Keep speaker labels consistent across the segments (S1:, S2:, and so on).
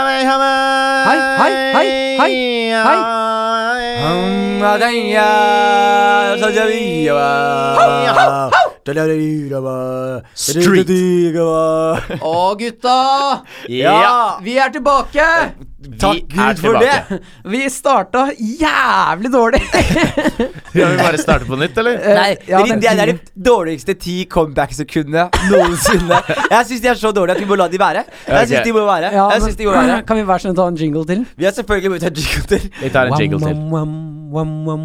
S1: Hei,
S2: hei, hei, hei, hei.
S1: Street.
S2: Å, gutta!
S1: Ja.
S2: Vi er tilbake!
S1: Takk
S2: Vi
S1: Gud for det!
S2: Vi starta jævlig dårlig. Eh,
S1: Skal vi bare starte på nytt, eller?
S3: Nei,
S2: ja,
S3: dere-
S2: men-
S3: Eh, det er de dårligste ti comeback-sekundene noensinne. Jeg syns de er så dårlige at vi må la de være. Jeg
S1: Ok.
S3: synes de må være.
S2: Ja,
S3: Jeg
S2: men-
S3: synes de må være
S2: Kan vi hver sin ta en jingle til?
S3: Vi har selvfølgelig begynt å ha jingle til.
S1: Vi tar en jingle til.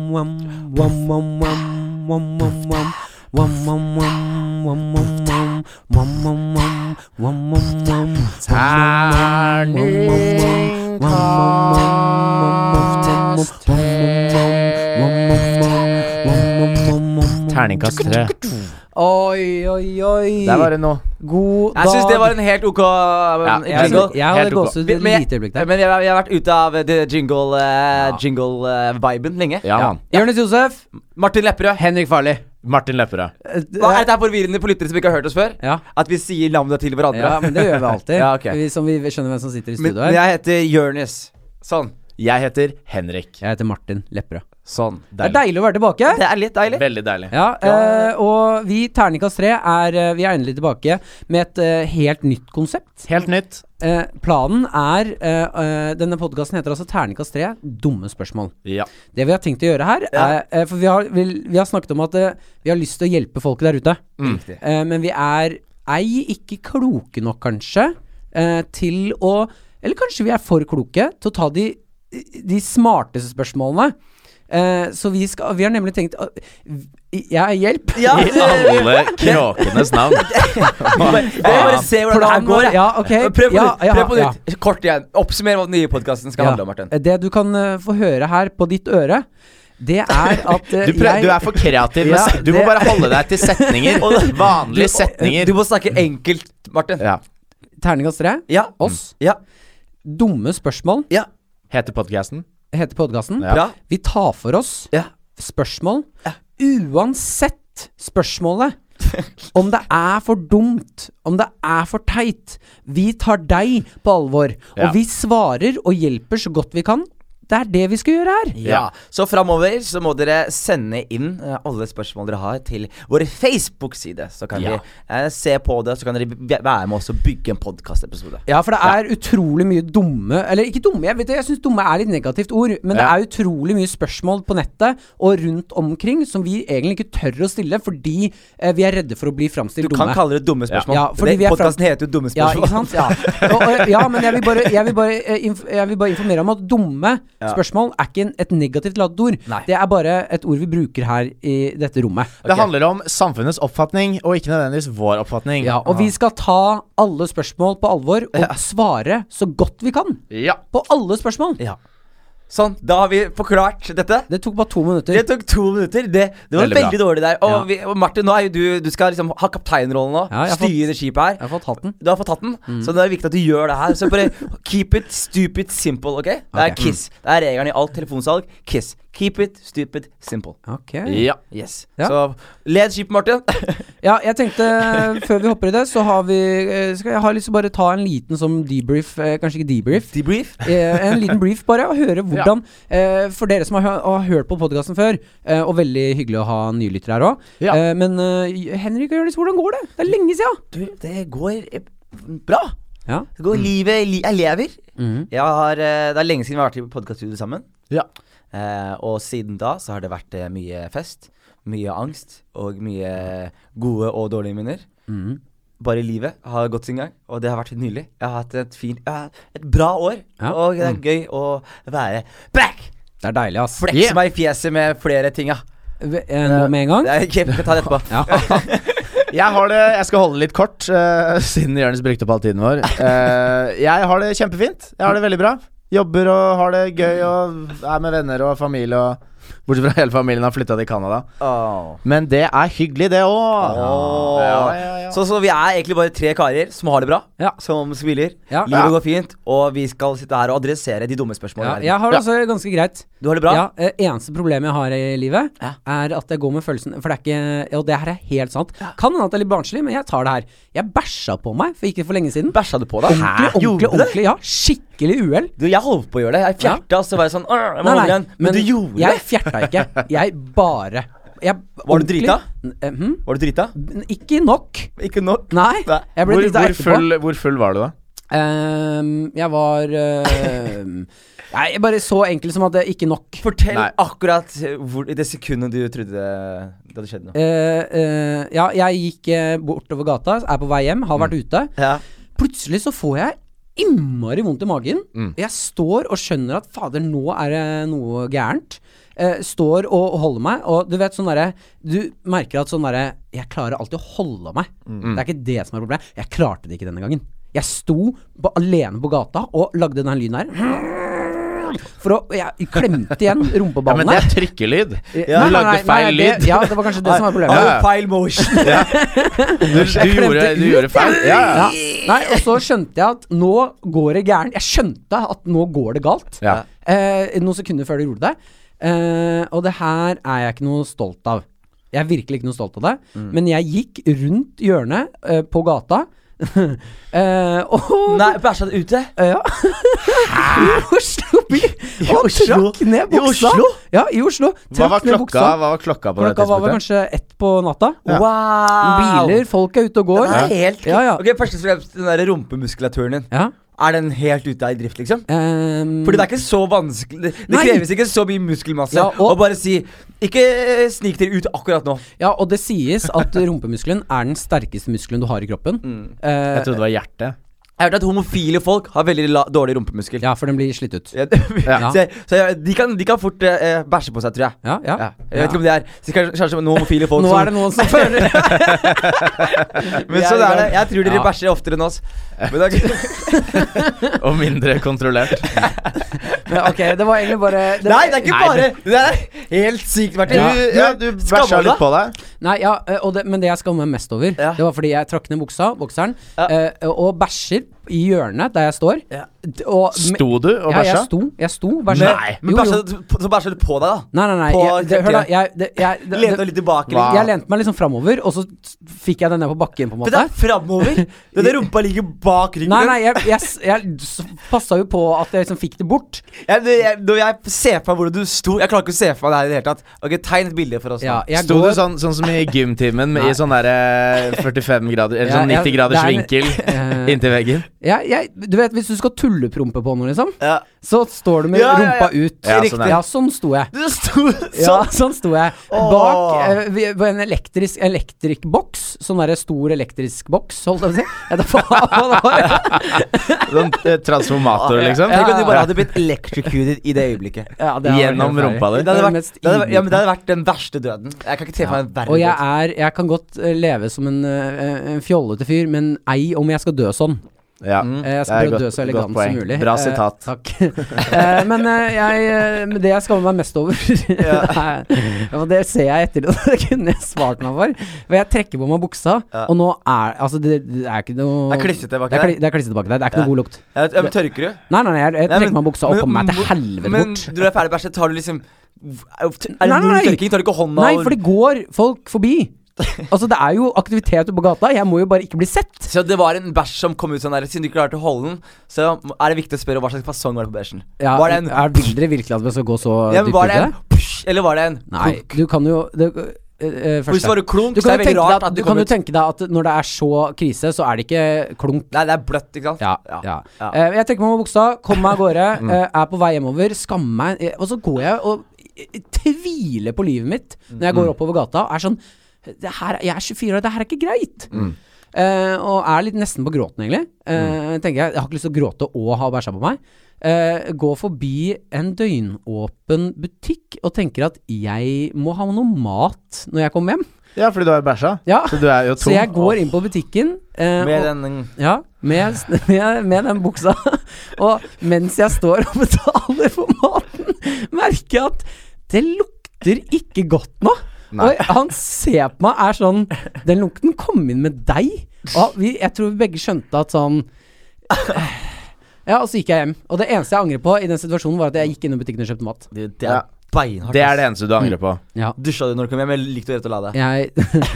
S1: Terningkast Terningkast tre.
S2: Oi, oi, oi.
S1: Der var det nå.
S2: God dag.
S3: Jeg syns det var en helt ok um,
S1: jeg
S3: jingle.
S1: synes-
S2: Jeg hadde
S1: Helt ok.
S2: gåsehud et
S3: Men jeg-
S2: lite øyeblikk der.
S3: Men jeg, jeg har vært ute av eh, det jingle uh, Jingle-viben lenge.
S1: Ja, mann.
S2: Jonis Josef.
S3: Martin Lepperød.
S2: Henrik Farley.
S1: Martin Lepperød.
S3: Hva er dette her forvirrende på lyttere som ikke har hørt oss før?
S2: eh, Ja.
S3: At vi sier navnet til hverandre.
S2: ja, men det gjør vi alltid.
S3: Ja, ok.
S2: vi, som vi skjønner hvem som sitter i
S3: Men
S2: studio her. Jeg,
S3: jeg heter Jonis. Sånn.
S1: Jeg heter Henrik.
S2: heter Martin Lepperød.
S3: Sånn.
S2: Det er deilig å være tilbake.
S3: Det er litt deilig.
S1: Veldig deilig.
S2: Ja, eh, og vi Terningkast 3 er eh, Vi er endelig tilbake med et eh, helt nytt konsept.
S1: Helt nytt.
S2: Eh, planen er eh, eh, Denne podkasten heter altså Terningkast 3 dumme spørsmål.
S1: Ja.
S2: Det vi har tenkt å gjøre her er, eh, For vi har, vi, vi har snakket om at eh, vi har lyst til å hjelpe folk der ute.
S3: Mm. Riktig.
S2: Eh, men vi er ei ikke kloke nok, kanskje, eh, til å Eller kanskje vi er for kloke til å ta de, de smarteste spørsmålene. Eh, så vi, skal, vi har nemlig tenkt uh, Jeg hjelp.
S3: Ja,
S1: I alle kråkenes navn.
S3: Jeg vil bare se hvordan det her
S2: Planen
S3: går. jeg.
S2: ja, ok.
S3: Prøv på
S2: ja,
S3: nytt.
S2: ja,
S3: Prøv på
S2: ja.
S3: nytt. Kort igjen. Oppsummer hva den nye podkasten skal
S2: Ja.
S3: handle om, Martin.
S2: Det du kan eh, få høre her på ditt øre, det er at eh,
S1: Du, prøv,
S2: jeg
S1: du er for kreativ. med
S2: Ja,
S1: se- du må
S2: det-
S1: bare holde deg til setninger. Vanlige
S3: Du
S1: setninger.
S3: må
S2: Mm.
S3: snakke enkelt, Martin.
S1: Ja.
S2: Terningkast 3.
S3: Ja.
S2: Oss.
S3: Ja.
S2: Dumme spørsmål
S3: Ja.
S1: Heter podkasten.
S2: heter podkasten.
S1: Ja.
S3: Bra.
S2: Vi tar for oss
S3: Ja.
S2: spørsmål. Uansett spørsmålet. Om det er for dumt, om det er for teit. Vi tar deg på alvor. Og
S1: Ja.
S2: vi svarer og hjelper så godt vi kan. Det er det vi skal gjøre her.
S3: Ja. Så framover så må dere sende inn eh, alle spørsmål dere har til vår Facebook-side. Så kan
S1: Ja.
S3: vi eh, se på det, så kan dere v- være med oss og bygge en podkastepisode.
S2: Ja, for det er utrolig mye dumme Eller ikke dumme, jeg, vet, det, jeg syns dumme er litt negativt ord. Men det
S1: Ja.
S2: er utrolig mye spørsmål på nettet og rundt omkring som vi egentlig ikke tør å stille fordi eh, vi er redde for å bli framstilt
S3: Du
S2: dumme.
S3: kan kalle det dumme spørsmål.
S2: Ja, fordi
S3: Den
S2: vi er fra-
S3: podcasten heter jo Dumme
S2: Ja,
S3: spørsmål.
S2: ikke sant? Ja, og, og, ja men jeg vil, bare, jeg, vil bare, eh, inf jeg vil bare informere om at dumme spørsmål er ikke en, et negativt ladet ord.
S3: Nei.
S2: Det er bare et ord vi bruker her i dette rommet.
S1: Det handler om samfunnets oppfatning, og ikke nødvendigvis vår oppfatning.
S2: Ja, og vi
S3: Ah.
S2: skal ta alle spørsmål på alvor og svare så godt vi kan
S1: Ja.
S2: på alle spørsmål.
S3: Ja. Sånn, da har vi forklart dette.
S2: Det tok bare to minutter.
S3: Det tok to minutter. Det, det var
S1: Veldig
S3: veldig,
S1: bra.
S3: dårlig der. Og,
S2: Ja.
S3: vi, og Martin, nå er jo du, du skal liksom ha kapteinrollen nå.
S2: Ja, jeg har fått-
S3: styre skipet
S2: Jeg
S3: her.
S2: har fått hatten.
S3: Du har fått tatt den,
S2: Mm.
S3: så det er viktig at du gjør det her. Så bare keep it stupid simple, ok? Det er
S2: Ok. Mm.
S3: kiss. Det er regelen i alt telefonsalg. Kiss. Keep it stupid simple.
S2: Ok.
S1: ja.
S3: Yes.
S2: Ja.
S3: Så led skipet, Martin.
S2: Ja, jeg tenkte eh, før vi hopper i det, så har vi eh, Skal jeg har lyst til å bare ta en liten som debrief, eh, kanskje ikke debrief,
S3: Debrief.
S2: Eh, en liten brief, bare, og høre hvordan eh, For dere som har, hø- har hørt på podkasten før, eh, og veldig hyggelig å ha nylyttere her òg.
S1: Ja.
S2: Eh, men eh, Henrik og Jonis, hvordan går det? Det er lenge sia!
S3: Du, det går eh, bra.
S2: Ja.
S3: Det går livet li Jeg lever.
S2: Mm.
S3: Jeg har, eh, det er lenge siden vi har vært i podkaststudio sammen.
S1: ja.
S3: Eh, og siden da så har det vært eh, mye fest, mye angst og mye gode og dårlige minner.
S2: Mm.
S3: Bare livet har gått sin gang, og det har vært nydelig. Jeg har hatt et fint, eh, et bra år,
S2: Ja. Mm.
S3: og det er gøy å være back!
S2: Det er deilig, ass.
S3: Flekse
S1: Yeah.
S3: meg i fjeset med flere ting, ja.
S2: Ve- eh, Nå med en gang.
S3: Det er ikke, vi kan ta det etterpå.
S2: Ja.
S1: Jeg har det Jeg skal holde det litt kort, eh, siden Jonis brukte opp all tiden vår. Eh, jeg har det kjempefint. Jeg har det veldig bra. Jobber og har det gøy og er med venner og familie og Bortsett fra hele familien har flytta til Canada.
S3: Åh.
S1: Men det er hyggelig, det òg.
S3: Åh. Så, så vi er egentlig bare tre karer som har det bra,
S2: Ja.
S3: som smiler.
S2: Ja.
S3: Livet
S1: Ja.
S3: går fint, og vi skal sitte her og adressere de dumme
S2: Ja,
S3: spørsmålene. i verden.
S2: jeg har det også ganske greit.
S3: Du har det bra?
S2: Ja, eh, Eneste problemet jeg har i livet,
S3: Ja.
S2: er at jeg går med følelsen For det er ikke Og det her er helt sant. Kan hende at det er litt barnslig, men jeg tar det her. Jeg bæsja på meg for ikke for lenge siden.
S3: Bæsja du på deg?
S2: Ordentlig,
S3: Gjorde
S2: ordentlig,
S3: du det?
S2: ordentlig. Ja, skikkelig uhell.
S3: Du, jeg holdt på å gjøre det. Jeg fjerta, og så var jeg sånn «Åh, jeg må
S2: Nei,
S3: holde
S2: nei,
S3: igjen. Men, du gjorde
S2: jeg
S3: det?
S2: fjerta ikke. Jeg bare jeg,
S3: Var du
S2: ordentlig-
S3: drita?
S2: Eh, hm?
S3: Var du drita?
S2: N- Ikke nok.
S3: Ikke nok.
S2: Nei.
S3: Nei.
S2: Jeg ble
S1: Hvor,
S2: drita
S1: hvor,
S2: etterpå.
S1: full, hvor full var du, da?
S2: Ehm, jeg var ehm, Nei, jeg bare så enkel som at det ikke nok.
S3: Fortell
S1: Nei.
S3: akkurat eh, hvor, i det sekundet du trodde det hadde skjedd noe.
S2: Eh, eh, ja, jeg gikk eh, bortover gata, er på vei hjem, har vært
S1: Mm.
S2: ute.
S3: Ja.
S2: Plutselig så får jeg innmari vondt i magen.
S1: Mm.
S2: Jeg står og skjønner at fader, nå er det noe gærent. Eh, står og holder meg, og du vet sånn derre Du merker at sånn derre Jeg klarer alltid å holde meg.
S1: Mm.
S2: Det er ikke det som er problemet. Jeg klarte det ikke denne gangen. Jeg sto på, alene på gata og lagde den lyden her. For å Jeg klemte igjen
S1: Ja, men
S2: rumpeballene.
S1: det er trykkelyd.
S2: Nei,
S1: Du
S2: nei,
S1: lagde
S2: nei,
S1: feil
S2: nei,
S1: lyd.
S2: Det, ja, det var kanskje det som var problemet.
S3: Ah,
S1: Ja, ja.
S3: Feil motion.
S1: Du, du, gjorde, du gjorde feil. Ja, ja.
S2: Ja. Nei, og så skjønte jeg at nå går det gærent. Jeg skjønte at nå går det galt.
S1: Ja.
S2: Eh, noen sekunder før du gjorde det. Eh, og det her er jeg ikke noe stolt av. Jeg er virkelig ikke noe stolt av det.
S1: Mm.
S2: Men jeg gikk rundt hjørnet eh, på gata. eh, og Eh,
S3: Nei, bæsja du ute?
S2: ja. I Oslo by! Og
S3: Oslo?
S2: trakk ned
S3: I
S2: buksa!
S3: Oslo?
S2: Ja, i Oslo.
S1: Hva var
S2: Trakk ned
S1: klokka,
S2: buksa.
S1: hva var klokka på
S2: Klokka
S1: det
S2: var
S1: tidspunktet?
S2: vel kanskje ett på natta.
S3: Wow!
S2: Biler, folk er ute og går.
S3: Den er helt
S2: Ja, ja.
S3: Ok, Først og fremst den der rumpemuskulaturen din.
S2: Ja.
S3: Er den helt ute av drift, liksom?
S2: Ehm,
S3: Fordi det er ikke så vanskelig Det, det
S2: Nei.
S3: kreves ikke så mye muskelmasse
S2: Ja,
S3: å
S2: og-
S3: bare si Ikke eh, snik dere ut akkurat nå.
S2: Ja, og det sies at rumpemuskelen er den sterkeste muskelen du har i kroppen.
S3: Mm.
S2: Eh,
S1: Jeg trodde det var hjertet.
S3: Jeg har hørt at homofile folk har veldig la, dårlig rumpemuskel.
S2: ja, for den blir slitt ut.
S3: Ja, så så jeg, de, kan, de kan fort eh, eh, bæsje på seg, tror jeg.
S2: Ja, ja.
S3: Ja. Jeg vet ikke om det er så kanskje, kanskje noen homofile folk
S2: Nå er det noen som føler
S3: som Men
S2: Vi er
S3: sånn
S2: i
S3: er det.
S2: gang.
S3: Jeg tror dere
S2: Ja.
S3: bæsjer oftere enn oss. Men det er,
S1: Og mindre kontrollert.
S2: Ja, Ok, det var egentlig bare det
S3: nei,
S2: var,
S3: det er ikke
S1: Nei,
S3: bare Det er helt sykt,
S1: Du,
S3: Martin. Du-
S1: ja, du
S3: skammer
S1: bæsja litt
S3: deg.
S1: på deg.
S2: Nei, ja, eh, og det, Men det jeg skammer meg mest over,
S3: Ja.
S2: det var fordi jeg trakk ned buksa, bokseren,
S3: Ja.
S2: eh, og bæsjer i hjørnet der jeg står.
S3: Ja.
S2: D- Og med-
S1: Sto du og
S2: Ja,
S1: bæsja?
S2: jeg sto. Jeg sto bæsja.
S3: Men, men
S2: Jo, jo.
S3: bæsja du- så bæsja du på deg, da.
S2: Nei, nei, nei.
S3: På
S2: Jeg, det, hør, da.
S3: kjøkkenet.
S2: Jeg, det, jeg, det,
S3: Lente
S2: det,
S3: deg litt tilbake.
S1: Hva?
S3: Liksom.
S2: jeg lente meg liksom framover, og så s- fikk jeg den ned på bakken, på en
S3: Men
S2: måte.
S3: det er framover. Den der rumpa ligger bak ryggen.
S2: Nei, nei, jeg, jeg, s- jeg s- passa jo på at jeg liksom fikk det bort.
S3: Jeg, det- jeg, når jeg ser for meg hvordan du sto Jeg klarer ikke å se for meg det her i det hele tatt. Ok, Tegn et bilde for oss. nå.
S2: Ja, jeg
S1: Sto du
S2: går-
S1: sånn, sånn som i gymtimen med- i
S2: Nei.
S1: sånn derre 45 grader Eller
S2: Ja,
S1: sånn
S2: jeg-
S1: 90 graders
S2: det er
S1: vinkel
S2: en- eh,
S1: inntil veggen?
S2: jeg, jeg, Du vet, hvis du skal tulleprompe på noen, liksom,
S3: Ja.
S2: så står du med
S3: Ja, ja, ja.
S2: rumpa ut.
S1: Ja, sånn
S2: sånn
S1: er det.
S2: ja, sånn sto jeg.
S3: Du sto sånn.
S2: Ja, sånn sto jeg.
S3: Åh.
S2: Bak eh, vi- på en elektrisk elektrikkboks. Sånn derre stor elektrisk boks, holdt jeg på å si. Jeg vet da faen hva det var.
S1: Sånn eh, transformator, liksom?
S3: Tenk om du
S2: Ja.
S3: bare hadde blitt electrocuted i det øyeblikket.
S2: Ja, det er
S1: Gjennom
S2: helt
S1: rumpa di?
S3: Det
S2: Det er
S3: hadde,
S2: det
S3: vært,
S2: mest
S3: det, hadde, vært- ja,
S2: ydmykende.
S3: men det hadde vært den verste døden. Jeg kan ikke se for meg en verre
S2: Og jeg
S3: død.
S2: er Jeg kan godt eh, leve som en, eh, en fjollete fyr, men ei om jeg skal dø sånn.
S1: Ja.
S3: Mm.
S2: Eh, Jeg
S1: Det er
S2: skal prøve å dø
S1: godt-
S2: så
S1: godt
S2: elegant
S1: poeng.
S2: som mulig.
S1: Bra
S2: Eh,
S1: sitat.
S2: takk. Eh, men eh, jeg, eh, men det jeg skammer meg mest over, er- og det ser jeg etter, og det kunne jeg svart meg for For jeg trekker på meg buksa,
S3: Ja.
S2: og nå er Altså, det, det er ikke noe
S3: Det er klissete bak
S2: det er,
S3: der.
S2: kli, det er klissete bak der. Det er ikke
S3: Ja.
S2: noe god lukt.
S3: Ja, men tørker du?
S2: Nei, nei, nei jeg, jeg
S3: Nei,
S2: trekker
S3: men-
S2: meg buksa og
S3: men-
S2: kommer meg til helvete
S3: Men
S2: bort.
S3: når du er ferdig bæsjet, tar du liksom Er det
S2: Nei,
S3: null
S2: nei.
S3: tørking? Tar du ikke hånda
S2: Nei,
S3: og-
S2: for det går folk forbi. Altså, det er jo aktivitet ute på gata. Jeg må jo bare ikke bli sett.
S3: Så det var en bæsj som kom ut sånn der. Siden du ikke klarte å holde den, så er det viktig å spørre hva slags fasong var det på bæsjen.
S2: Ja,
S3: var det en
S2: er, vil dere virkelig at vi skal gå så
S3: ja, men
S2: dypt
S3: Var
S2: ut
S3: det
S2: i
S3: en
S2: det?
S3: psh, Eller var det en
S2: Nei,
S3: klunk?
S2: du kan jo det, eh, eh,
S3: For Hvis
S2: første.
S3: det var en klunk,
S2: Du
S3: så
S2: kan,
S3: er
S2: jo
S3: det
S2: tenke,
S3: veldig rart
S2: deg,
S3: at
S2: at,
S3: det
S2: du kan
S3: kom
S2: jo
S3: ut
S2: tenke deg at når det er så krise, så er det ikke klunk.
S3: Nei, det er bløtt, ikke sant?
S2: Ja, ja.
S3: ja. ja. Mm.
S2: Eh, jeg trekker meg med buksa, kommer meg av gårde, eh, er på vei hjemover, skammer meg, eh, og så går jeg og eh, tviler på livet mitt når jeg
S3: Mm.
S2: går oppover gata og er sånn det her, Jeg er 24 år, det her er ikke greit.
S3: Mm.
S2: Eh, og er litt nesten på gråten, egentlig.
S3: Mm.
S2: Eh, tenker Jeg jeg har ikke lyst til å gråte og ha bæsja på meg. Eh, går forbi en døgnåpen butikk og tenker at jeg må ha noe mat når jeg kommer hjem.
S1: Ja, fordi du har jo bæsja.
S2: Ja.
S1: Så du er jo tom.
S2: Så jeg går inn på butikken eh,
S3: Med
S2: og-
S3: den
S2: ja, med, med, med den buksa. Og mens jeg står og betaler for maten, merker jeg at det lukter lukter ikke godt nå.
S1: Nei.
S2: Og han ser på meg er sånn Den lukten kom inn med deg. Og vi, jeg tror vi begge skjønte at sånn Ja, og så gikk jeg hjem. Og det eneste jeg angrer på i den situasjonen, var at jeg gikk innom butikken og kjøpte mat.
S3: Det, det er
S1: Ja.
S3: beinhardt.
S1: Det er
S3: ass.
S1: det eneste du angrer på.
S3: Dusja du når du kom hjem, eller likte du rett å la deg?
S2: Jeg,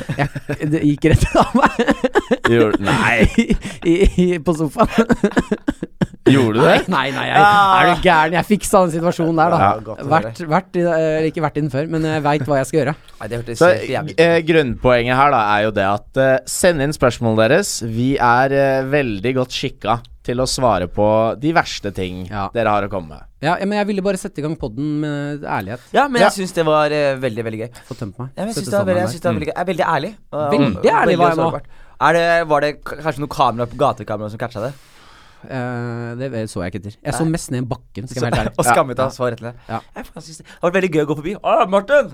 S2: jeg Det gikk rett av meg
S1: Gjorde, nei,
S2: i, i, i- på sofaen.
S1: gjorde du det?
S2: Nei, nei, jeg, er du gæren? Jeg fiksa den situasjonen der, da.
S1: Ja,
S3: Ah. godt å høre.
S2: vært, vært, i- eller ikke vært i den før, men jeg veit hva jeg skal gjøre.
S3: Nei, det hørtes
S1: Så
S3: helt jævlig ut.
S1: eh, Grunnpoenget her da er jo det at eh, send inn spørsmålet deres. Vi er eh, veldig godt skikka til å svare på de verste ting
S2: Ja.
S1: dere har å komme med.
S2: Ja, men jeg ville bare sette i gang poden med ærlighet.
S3: Ja, men
S1: Ja.
S3: jeg syns det var eh, veldig, veldig gøy.
S2: Få tømt meg.
S3: Ja, men jeg
S2: Sette
S3: syns det, var
S2: sammen
S3: veldig- jeg
S2: der.
S3: synes det var veldig gøy. Jeg er veldig ærlig. og-
S2: Veldig ærlig var jeg nå.
S3: sårbart. Er det, var det k- kanskje noe kamera på gatekamera som catcha det?
S2: Eh, det vet- så jeg ikke etter. Jeg så mest ned bakken, skal jeg være helt ærlig.
S3: og skammet deg og svaret rett ned.
S2: Ja.
S3: Jeg faen synes det det var veldig gøy å gå forbi. Å, Martin!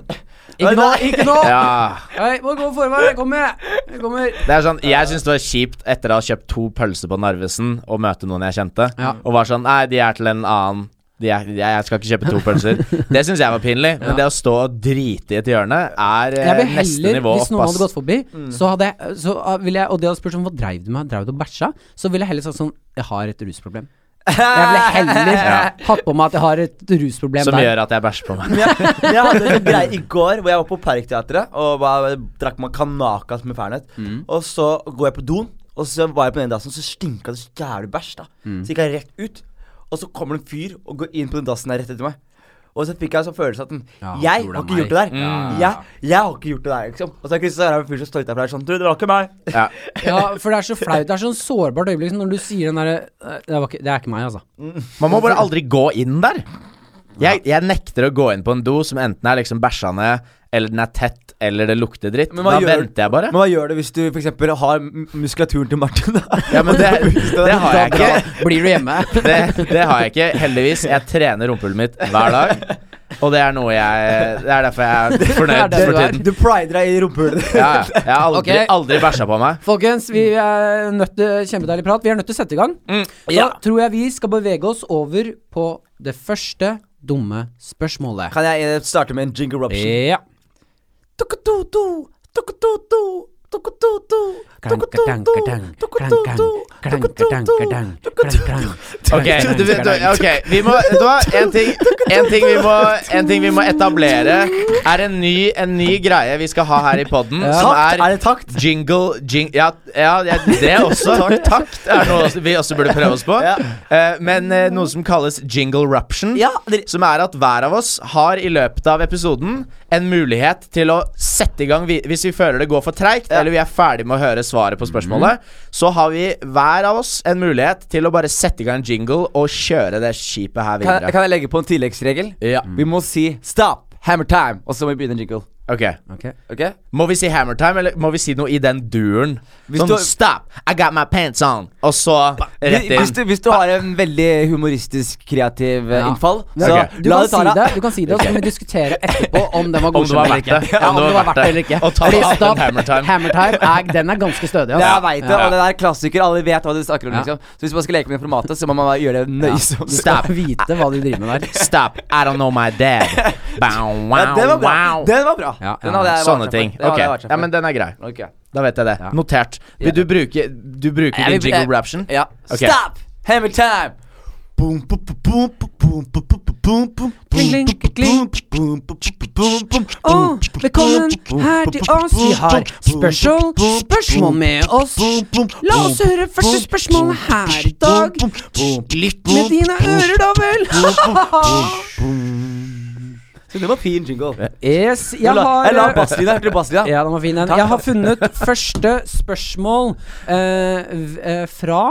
S2: Ikke nå! Ikke nå!
S1: Ja,
S2: Jeg må gå foran meg! Jeg kommer! Jeg kommer!
S1: det er sånn, Jeg syns det var kjipt etter å ha kjøpt to pølser på Narvesen og møte noen jeg kjente,
S2: Ja.
S1: og var sånn Nei, de er til en annen. De er, de- jeg skal ikke kjøpe to pølser. Det syns jeg var pinlig. Men det
S2: Ja.
S1: å stå og drite i et hjørne er eh,
S2: Jeg vil
S1: neste
S2: heller,
S1: nivå
S2: hvis
S1: opp,
S2: noen
S1: ass.
S2: hadde gått forbi,
S3: Mm.
S2: så hadde jeg, så ah, ville jeg Og de hadde spurt sånn, hva dreiv du med? Dreiv du og bæsja? Så ville jeg heller sagt sånn, jeg har et rusproblem. Jeg ville heller hatt på meg at jeg har et rusproblem
S1: Som
S2: der.
S1: gjør at jeg bæsjer på meg.
S3: Men jeg, men jeg hadde en greie i går hvor jeg var på Parkteatret og bare drakk meg kanakas med Fernet.
S1: Mm.
S3: Og så går jeg på doen, og så var jeg på den dassen, så stinka det så jævlig bæsj. da
S1: Mm.
S3: Så gikk jeg rett ut, og så kommer det en fyr og går inn på den dassen der rett etter meg. Og så fikk jeg en sånn følelse at den,
S2: Ja, han
S3: jeg
S2: tror det
S3: har
S2: er
S3: ikke gjort
S2: meg.
S3: det der. Jeg, jeg har ikke gjort det der, liksom. Og så er det en fyr som står utenfor her sånn Du, det var ikke meg.
S1: Ja.
S2: Ja, for det er så flaut. Det er sånn sårbart øyeblikk når du sier den derre eh, det, var ikke- det er ikke meg, altså.
S1: Man må bare aldri gå inn der. Jeg, jeg nekter å gå inn på en do som enten er liksom bæsja ned, eller den er tett, eller det lukter dritt.
S3: Men
S1: Da
S3: hva gjør-
S1: venter jeg bare.
S3: Men hva gjør du hvis du f.eks. har m- muskulaturen til Martin? da?
S1: Ja, men det, det har jeg
S2: Da
S1: ikke.
S2: blir du hjemme.
S1: Det, det har jeg ikke, heldigvis. Jeg trener rumpehullet mitt hver dag. Og det er noe jeg Det er derfor jeg er fornøyd
S2: Det er det
S1: for
S2: du er.
S1: tiden.
S3: Du prider deg i rumpehullet.
S1: Ja, ja. jeg har aldri,
S2: Ok.
S1: aldri bæsja på meg.
S2: Folkens, vi er nødt til kjempedeilig prat. Vi er nødt til å sette i gang. Da tror jeg vi skal bevege oss over på det første dumme spørsmålet.
S3: Kan jeg eh, starte med en jingle eruption?
S2: Ja.
S3: Tukututu, tukututu, tukututu,
S2: Klang,
S3: tukututu,
S2: klang,
S3: tukututu,
S2: klang,
S3: tukututu,
S2: klang, klang,
S3: tukututu.
S2: klang,
S1: Ok,
S2: klang,
S1: du, vet- du,
S2: klang.
S1: ok, vi må Vet du hva? En ting, en ting, vi, må, en ting vi må etablere, er en ny, en ny greie vi skal ha her i poden, som
S3: Takt,
S1: er
S3: er det takt?
S1: Jingle, jing, ja, ja, ja, det også. Takt er noe også- vi også burde prøve oss på.
S3: Ja.
S1: Eh, men eh, noe som kalles jingle ruption.
S3: Ja, dere-
S1: Som er at hver av oss har i løpet av episoden en mulighet til å sette i gang vi, Hvis vi føler det går for treigt,
S3: Ja. Mhm.
S1: eller vi er ferdig med å høre svaret på spørsmålet, så har vi hver av oss en mulighet til å bare sette i gang en jingle og kjøre det skipet her
S3: Kan,
S1: videre.
S3: kan jeg legge på en tilleggsregel?
S1: Ja,
S2: Mm.
S3: Vi må si stop, hammer time, og så må vi begynne en jingle.
S1: ok
S2: Ok.
S3: Ok?
S1: Må vi si hammer time, eller må vi si noe i den duren?
S3: Hvis
S1: Sånn
S3: du-
S1: stop, I got my pants on, og så rett inn.
S3: Hvis du, hvis du har en veldig humoristisk, kreativ eh,
S2: Ja.
S3: innfall,
S1: Ok.
S3: så
S2: Du
S3: la
S2: kan,
S3: det
S2: si
S3: ta
S2: det,
S3: deg.
S2: du kan si det, og så kan vi diskutere etterpå om den var
S1: Om det
S2: godkjent
S1: var
S2: eller
S1: verdt
S2: ikke.
S1: det.
S2: Ja, om det var verdt det eller ikke.
S1: Å ta det av en
S2: Stopp.
S1: hammer time.
S2: Hammer time er, den er ganske stødig.
S3: Ja,
S2: altså.
S3: jeg vet det, og det der er klassiker. Alle vet hva du snakker om.
S2: Ja.
S3: liksom Så hvis man skal leke med det formatet, så må man bare gjøre det
S2: Ja.
S3: nøysomt.
S2: Du skal vite hva du driver med der.
S1: Stop, I don't know my dad. Bow, wow,
S3: Ja, den var bra.
S1: wow.
S3: Den var bra.
S2: Ja,
S3: Den
S2: ja.
S3: hadde jeg
S1: Sånne
S3: vært
S1: ting.
S3: for. Den
S1: Ok,
S3: hadde jeg vært
S1: ja, men den er grei.
S3: for. Ok.
S1: Da vet jeg det.
S2: Ja.
S1: Notert. Vil du bruke Du bruker
S3: Jeg vil-
S1: ikke jingle
S3: jeg-
S1: raption?
S3: Ja.
S1: Ok.
S3: Stop! Hammer time! Boom, boom, boom, boom, boom, boom, boom, boom, boom,
S2: Kling, kling, kling.
S3: boom, boom, boom, boom,
S2: Og velkommen her til oss. Vi har special spørsmål med oss. La oss høre første spørsmål her i dag. Lytt med dine ører, da vel.
S3: Så det var fin jingle.
S2: Yes, jeg
S3: la,
S2: har eh,
S3: jeg la basslinja. Hørte du basslinja?
S2: Ja, den var fin, den. Jeg har funnet første spørsmål eh, v- eh, fra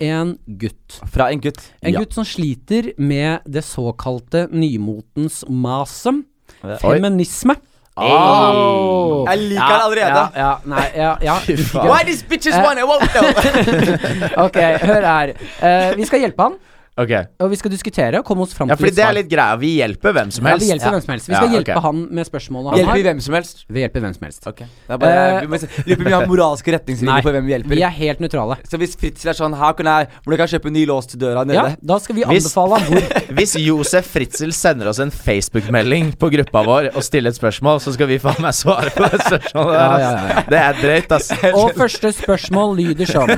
S2: en gutt.
S3: Fra en gutt.
S2: En
S3: Ja.
S2: gutt som sliter med det såkalte nymotens masem.
S3: Ja.
S2: Feminisme.
S1: Ah.
S2: Åh.
S3: Jeg liker den allerede.
S2: Ja, ja, nei, ja, ja.
S1: Fy faen.
S3: Why these bitches wanna walk though?
S2: Ok, hør her. Eh, vi skal hjelpe han.
S1: Ok.
S2: Og vi skal diskutere og komme oss fram
S1: Ja,
S2: til
S1: fordi
S2: et
S1: det er
S2: svar.
S1: litt greia. Vi hjelper hvem som
S2: Ja,
S1: helst.
S2: vi hjelper
S1: Ja.
S2: hvem som helst. Vi skal
S1: Ja, ok.
S2: hjelpe han med spørsmålet han
S3: Hjelper vi
S2: har.
S3: hvem som helst?
S2: Vi hjelper hvem som helst.
S3: Ok Det er bare
S2: Eh,
S3: Vi må se- lurer på om vi har moralske
S2: Nei,
S3: retningslinjer for hvem vi hjelper.
S2: Vi er helt nøytrale.
S3: Så hvis Fritzel er sånn Her kan jeg Hvordan kan jeg kjøpe ny lås til døra nede?
S2: Ja, da skal vi
S1: Hvis-
S2: anbefale han hvor
S1: Hvis Josef Fritzel sender oss en Facebook-melding på gruppa vår og stiller et spørsmål, så skal vi faen meg svare på det spørsmålet. der,
S2: Ja, ja, ja,
S1: ass. Det er drøyt, ass.
S2: Og første spørsmål lyder sånn.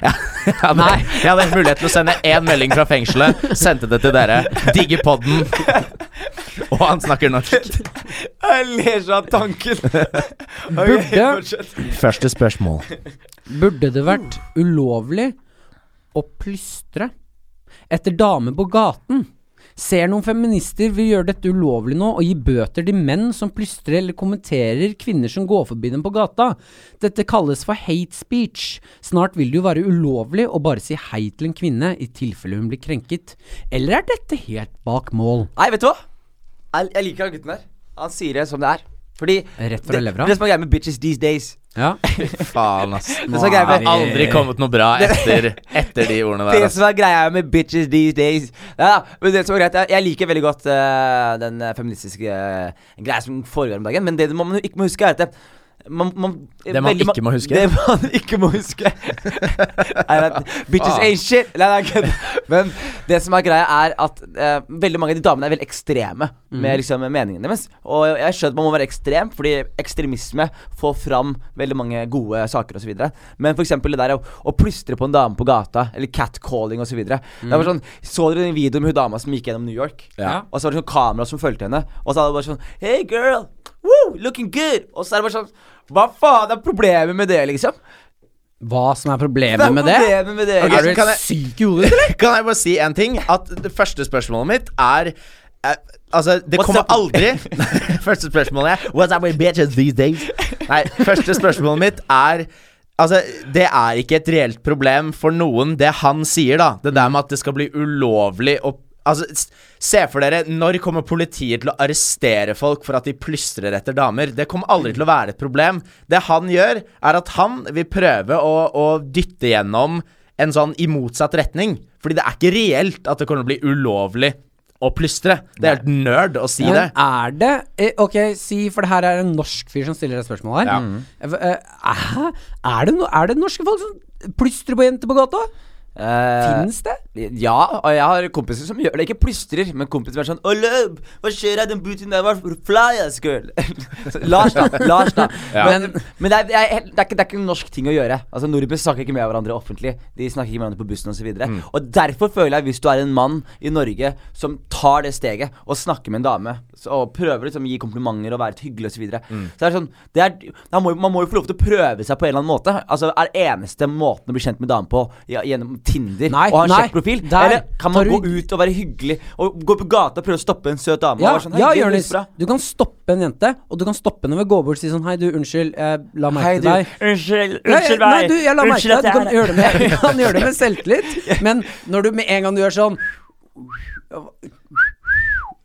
S1: Jeg hadde,
S2: Nei.
S1: jeg hadde mulighet til å sende én melding fra fengselet, sendte det til dere. Digger podden. Og han snakker norsk.
S3: Jeg ler så av tanken. Ok,
S2: Burde-
S3: fortsett.
S1: Første spørsmål.
S2: Burde det vært ulovlig å plystre etter damer på gaten? Ser noen feminister vil gjøre dette ulovlig nå og gi bøter til menn som plystrer eller kommenterer kvinner som går forbi dem på gata. Dette kalles for hate speech. Snart vil det jo være ulovlig å bare si hei til en kvinne i tilfelle hun blir krenket. Eller er dette helt bak mål?
S3: Nei, vet du hva? Jeg, jeg liker han gutten der. Han sier det som det er. Fordi
S2: Rett fra
S3: det,
S2: levra.
S3: det som er greia med bitches these days
S2: Ja.
S1: Faen, ass.
S3: Det som er greia
S1: Det har
S3: med
S1: aldri kommet noe bra etter, etter de ordene der.
S3: det
S1: Ass.
S3: som er greia med bitches these days Ja, men det som er greit Jeg, jeg liker veldig godt eh, den eh, feministiske eh, greia som foregår om dagen, men det man ikke må huske, er at det, man, man,
S1: Det man
S3: veldig
S1: ikke må huske?
S3: Det man ikke må huske er at Bitches
S1: Faen.
S3: ain't shit! Nei, nei, kødd. Men det som er greia, er at eh, veldig mange av de damene er veldig ekstreme med liksom meningene deres. Og jeg- jeg skjønner at man må være ekstrem, fordi ekstremisme får fram veldig mange gode saker osv. Men f.eks. det der å, å plystre på en dame på gata, eller catcalling osv. Mm. Sånn, så dere den videoen med hun dama som gikk gjennom New York?
S1: Ja.
S3: Og så var det sånn kamera som fulgte henne. Og så hadde det bare sånn Hey girl, woo, looking good. Og så er det bare sånn Hva faen er problemet med det, liksom?
S2: Hva som er
S3: Hva
S2: problemet
S3: er
S2: med det?
S3: problemet med det?
S1: Ok,
S2: Er du
S1: kan jeg-
S2: helt syk i hodet?
S1: Kan jeg bare si en ting? At det første spørsmålet mitt er eh, Altså, det
S3: What's
S1: kommer
S3: up?
S1: aldri Første spørsmålet er What's up with bitches these days? Nei, første spørsmålet mitt er Altså, Det er ikke et reelt problem for noen, det han sier, da. Det der med at det skal bli ulovlig å Altså, s- Se for dere, når kommer politiet til å arrestere folk for at de plystrer etter damer? Det kommer aldri til å være et problem. Det han gjør, er at han vil prøve å, å dytte gjennom en sånn i motsatt retning. Fordi det er ikke reelt at det kommer til å bli ulovlig å plystre. Det er helt nerd å si det.
S2: Men er det eh, Ok, si, for det her er en norsk fyr som stiller deg spørsmål her.
S1: Ja.
S2: Eh, eh, Er, det no, er det norske folk som plystrer på jenter på gata?
S3: Eh,
S2: Finnes det?
S3: Ja, og jeg har kompiser som gjør det. Ikke plystrer, men kompiser som er sånn «Å, løp! Hva skjer av den booten der? Hva fly ass girl? Så, Lars, da. Lars, da.
S1: Ja.
S3: Men, men det, er, det, er, helt- det, er ikke, det er ikke en norsk ting å gjøre. Altså Nordmenn snakker ikke med hverandre offentlig. De snakker ikke med hverandre på bussen osv. videre Og derfor føler jeg, hvis du er en mann i Norge som tar det steget og snakker med en dame så, og prøver liksom å gi komplimenter og være et hyggelig osv., så, videre så er det sånn det er, man, må, jo- man må jo få lov til å prøve seg på en eller annen måte. Altså Er eneste måten å bli kjent med dame på ja, gjennom Tinder?
S2: Nei,
S3: og ha en
S2: nei,
S3: kjekk profil?
S2: der
S3: Eller kan man
S2: tar du-
S3: gå ut og være hyggelig og gå på gata og prøve å stoppe en søt dame?
S2: Ja,
S3: og være sånn,
S2: ja
S3: «Hei, du,
S2: Jonis.
S3: du er bra».
S2: Du kan stoppe en jente, og du kan stoppe henne ved å gå bort og si sånn Hei, du, unnskyld, jeg la merke
S3: Hei,
S2: til
S3: du.
S2: deg.
S3: Unnskyld.
S2: Nei,
S3: Unnskyld
S2: nei, du, jeg la merke til
S3: Unnskyld
S2: deg. Du kan
S3: er
S2: gjøre det med, du kan gjøre det med selvtillit, men når du med en gang du gjør sånn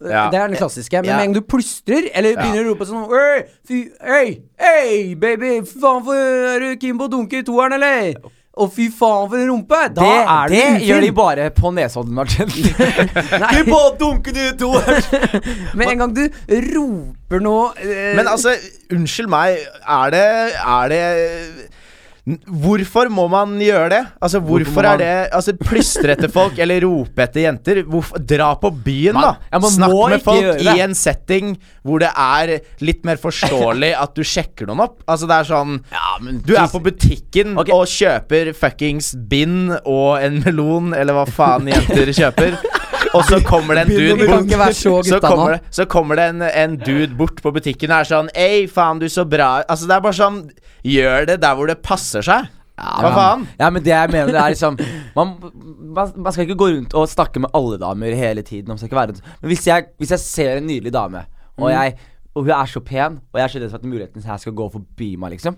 S1: Ja.
S2: Det er den klassiske. Men
S1: Ja.
S2: med en gang du plystrer, eller begynner å rope sånn Øy, fy, øy, øy, baby, fy faen for Er du keen på å dunke i toeren, eller? Å, fy faen for en rumpe! Da
S3: det,
S2: er du
S3: det
S2: ufin.
S3: gjør de bare på Nesodden, Martin.
S2: Nei.
S3: du på å dunke du to
S2: Med en gang du roper noe eh,
S1: Men altså, unnskyld meg, er det, er det N- Hvorfor må man gjøre det? Altså, hvorfor,
S3: må man-
S1: er det Altså, plystre etter folk eller rope etter jenter. Hvorfor, dra på byen, da.
S3: ja, man
S1: Snakk
S3: må
S1: med
S3: ikke gjøre
S1: folk i
S3: det.
S1: en setting hvor det er litt mer forståelig at du sjekker noen opp. Altså, det er sånn Du er på butikken
S3: Ok.
S1: og kjøper fuckings bind og en melon, eller hva faen jenter kjøper. Og så kommer det en
S2: Bind
S1: dude
S2: og melon. Du kan ikke være så gutta nå.
S1: kommer det, så kommer det en, en dude bort på butikken og er sånn Ei, faen, du så bra ut». Altså, det er bare sånn Gjør det der hvor det passer seg. Hva faen?
S3: Ja, men det jeg mener det er liksom man, man, man skal ikke gå rundt og snakke med alle damer hele tiden. Man skal ikke være rundt. Men hvis jeg, hvis jeg ser en nydelig dame,
S1: Mm.
S3: og, jeg, og hun er så pen, og jeg er så redd for at muligheten her skal gå forbi meg, liksom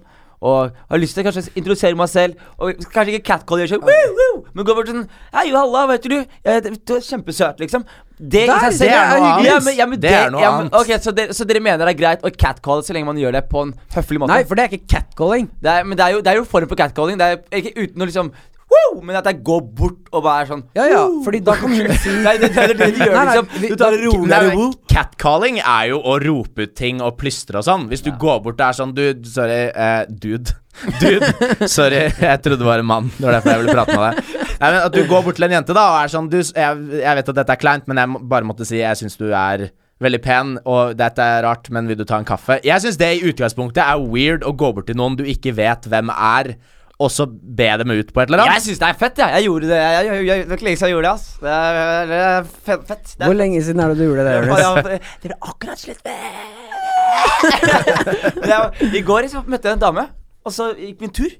S3: og har lyst til å kanskje introdusere meg selv. Og Kanskje ikke catcall, gjør sånn, woo, woo, men gå bort sånn Hei, jo, halla, hva heter du? Jeg heter, du er kjempesøt, liksom. Det, i
S2: Der,
S3: seg selv-
S1: det er noe annet.
S3: Ja, men, ja, men
S1: Det
S3: det
S1: er noe
S3: ja, men-
S1: annet.
S3: ok, så, dere, så dere mener det er greit å catcalle så lenge man gjør det på en høflig måte?
S2: Nei, for det er ikke catcalling.
S3: Det er, men det er, jo, det er jo form for catcalling. Det er ikke uten å liksom Woo! Men at jeg går bort og bare er sånn
S2: Ja, ja,
S3: «Woo!»
S2: fordi da kan hun si
S3: Nei, det, det er det du gjør,
S2: Nei, nei,
S3: liksom.
S2: vi-
S3: Du tar det rolig.
S1: Nei,
S3: der,
S1: men
S3: «Woo!»
S1: Catcalling er jo å rope ut ting og plystre og sånn. Hvis du går bort der sånn Du, sorry, eh, dude. Dude, sorry, jeg trodde det var en mann. Det var derfor jeg ville prate med deg. Nei, men At du går bort til en jente da og er sånn du, s- jeg, jeg vet at dette er kleint, men jeg må- bare måtte si jeg syns du er veldig pen, og dette er rart, men vil du ta en kaffe? Jeg syns det i utgangspunktet er weird å gå bort til noen du ikke vet hvem er, og så be dem ut på et eller
S3: Jeg
S1: annet.
S3: syns det er fett, jeg. Jeg gjorde det. Jeg, jeg, jeg, det er ikke lenge siden jeg gjorde det, ass. Det er, det er fe- fett. Det
S2: Hvor
S3: er,
S2: lenge siden er det du gjorde det?
S3: det er
S2: Jonas?
S3: bare- Dere er akkurat slutt Men jeg- I går liksom, møtte jeg en dame, og så gikk vi en tur.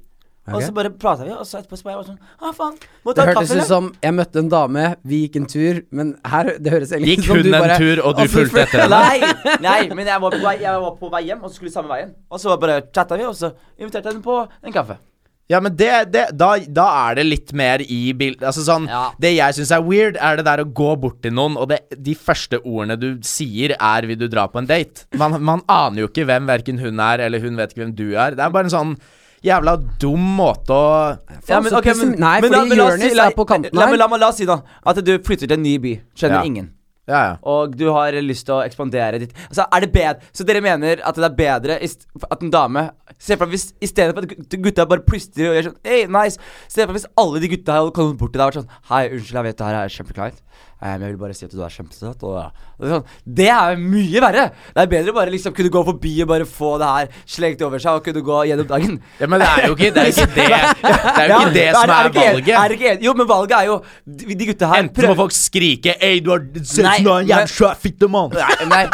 S3: Og
S2: Ok.
S3: så bare prata vi, og så etterpå så bare jeg var sånn Å, faen. Må
S2: Det
S3: ta en
S2: hørtes
S3: kaffe,
S2: ut
S3: eller?
S2: som jeg møtte en dame, vi gikk en tur, men her det høres egentlig
S1: Gikk
S2: ut som
S1: hun
S2: du
S1: en
S2: bare
S1: tur, og du
S2: Altså,
S1: fulgte etter henne?
S3: Nei, nei, men jeg var, på vei, jeg var på vei hjem, og så skulle vi samme veien. Og så bare chatta vi, og så inviterte jeg henne på en kaffe.
S1: Ja, men det, det, da, da er det litt mer i bildet Altså sånn,
S3: Ja.
S1: Det jeg syns er weird, er det der å gå bort til noen, og det, de første ordene du sier, er 'vil du dra på en date'? Man, man aner jo ikke hvem verken hun er, eller hun vet ikke hvem du er. Det er bare en sånn jævla dum måte å
S2: Faen, så
S3: ok,
S2: pessim- Nei,
S3: men la-
S2: fordi
S3: men la oss
S2: Jonis
S3: si- la-
S2: er på kanten
S3: la-
S2: her.
S3: Men la meg la oss si da at du flytter til en ny by. Skjønner
S1: Ja.
S3: ingen.
S1: Ja, ja.
S3: Og du har lyst til å ekspandere ditt altså, er det bedre, Så dere mener at det er bedre i st- at en dame Se for deg hvis i stedet for at gut- gutta bare plystrer og gjør sånn Hey, nice Se for deg hvis alle de gutta hadde kommet bort til deg og vært sånn Hei, unnskyld, jeg vet det her er kjempekleint. eh, Men jeg vil bare si at du er kjempesøt. Og, og det, er sånn, det er mye verre! Det er bedre å bare liksom kunne gå forbi og bare få det her slengt over seg og kunne gå gjennom dagen.
S1: ja men det er jo ikke det, er ikke det. Det er jo ikke det
S3: Ja,
S1: som er
S3: det ikke en- Er det
S1: valget.
S3: ikke en- jo, men valget er jo De, de gutta her
S1: Enten må folk skrike 'Ei, du har sett
S3: Nei,
S1: noe
S3: men-
S1: jævla traffic, du, mann'.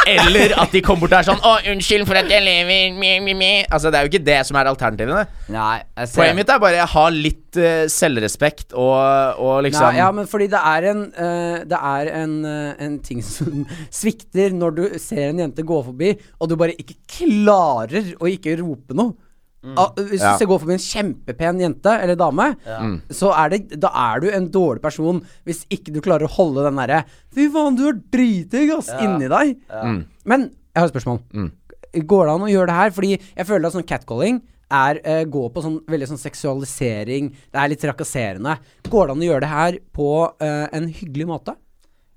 S1: Eller at de kommer bort der sånn 'Å, unnskyld for at jeg lever', mi, mi, mi. Altså, det er jo ikke det som er alternativene.
S3: Nei, jeg ser
S1: Poenget mitt er bare ha litt eh, selvrespekt og, og liksom
S2: Nei, ja, men fordi det er en, eh, det er en, eh, en ting som svikter når du ser en jente gå forbi, og du bare ikke klarer å ikke rope noe. Ah, hvis
S1: Ja. Mm.
S2: du ser- går forbi en kjempepen jente eller dame, så er det, da er du en dårlig person hvis ikke du klarer å holde den derre Fy faen, du er dritdigg, ass, inni deg.
S1: Mm.
S2: Men jeg har et spørsmål. Går det an å gjøre det her? Fordi jeg føler at sånn catcalling er eh, gå på sånn veldig sånn seksualisering. Det er litt trakasserende. Går det an å gjøre det her på eh, en hyggelig måte?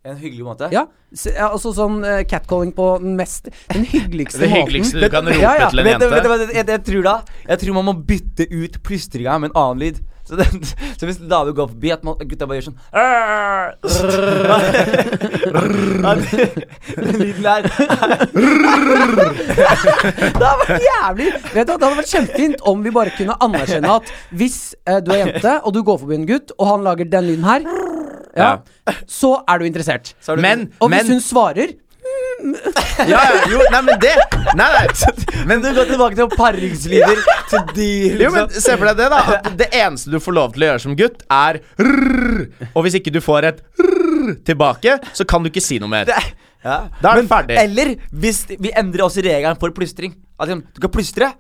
S3: En hyggelig måte.
S2: Ja, s- ja altså sånn eh, catcalling på den mest Den hyggeligste
S1: Det
S2: måten.
S1: hyggeligste du kan rope
S2: Ja, ja,
S1: til en
S3: Vet du-
S1: jente.
S3: vet du hva det- jeg, jeg tror da Jeg tror man må bytte ut plystringa med en annen lyd. Så, den, så hvis David går forbi, at man, gutta bare gjør sånn «Arr!» At- Den lyden der
S2: Det hadde vært jævlig Vet du, hva, Det hadde vært kjempefint om vi bare kunne anerkjenne at hvis eh, du er jente, og du går forbi en gutt, og han lager den lyden her, ja, så er du interessert.
S3: så er det-
S1: Men,
S2: Og hvis
S1: men
S2: hun svarer
S1: ja, ja, Jo, nei, men det Nei, nei. Men
S3: Du går tilbake til paringslyder. Så de liksom.
S1: jo, men Se for deg det, da. At det eneste du får lov til å gjøre som gutt, er rrr, Og hvis ikke du får et rrr tilbake, så kan du ikke si noe mer.
S3: ja.
S1: Da er du ferdig.
S3: Eller hvis de- vi endrer også regelen for plystring. At liksom, du kan plystre,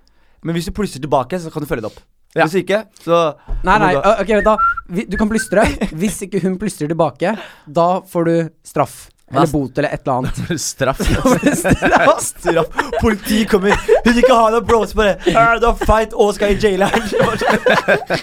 S3: men hvis du plystrer tilbake, så kan du følge det opp.
S1: Ja.
S3: Hvis ikke, så
S2: Nei,
S3: må
S2: nei,
S3: du-
S2: ø- ok, vent da. Vi, du kan plystre. Hvis ikke hun plystrer tilbake, da får du straff. Eller bot eller et eller annet.
S1: Straff.
S3: Straff. Politi kommer. Hun vil ikke ha noe bros på det. Ah, Du har fight og skal i jail her.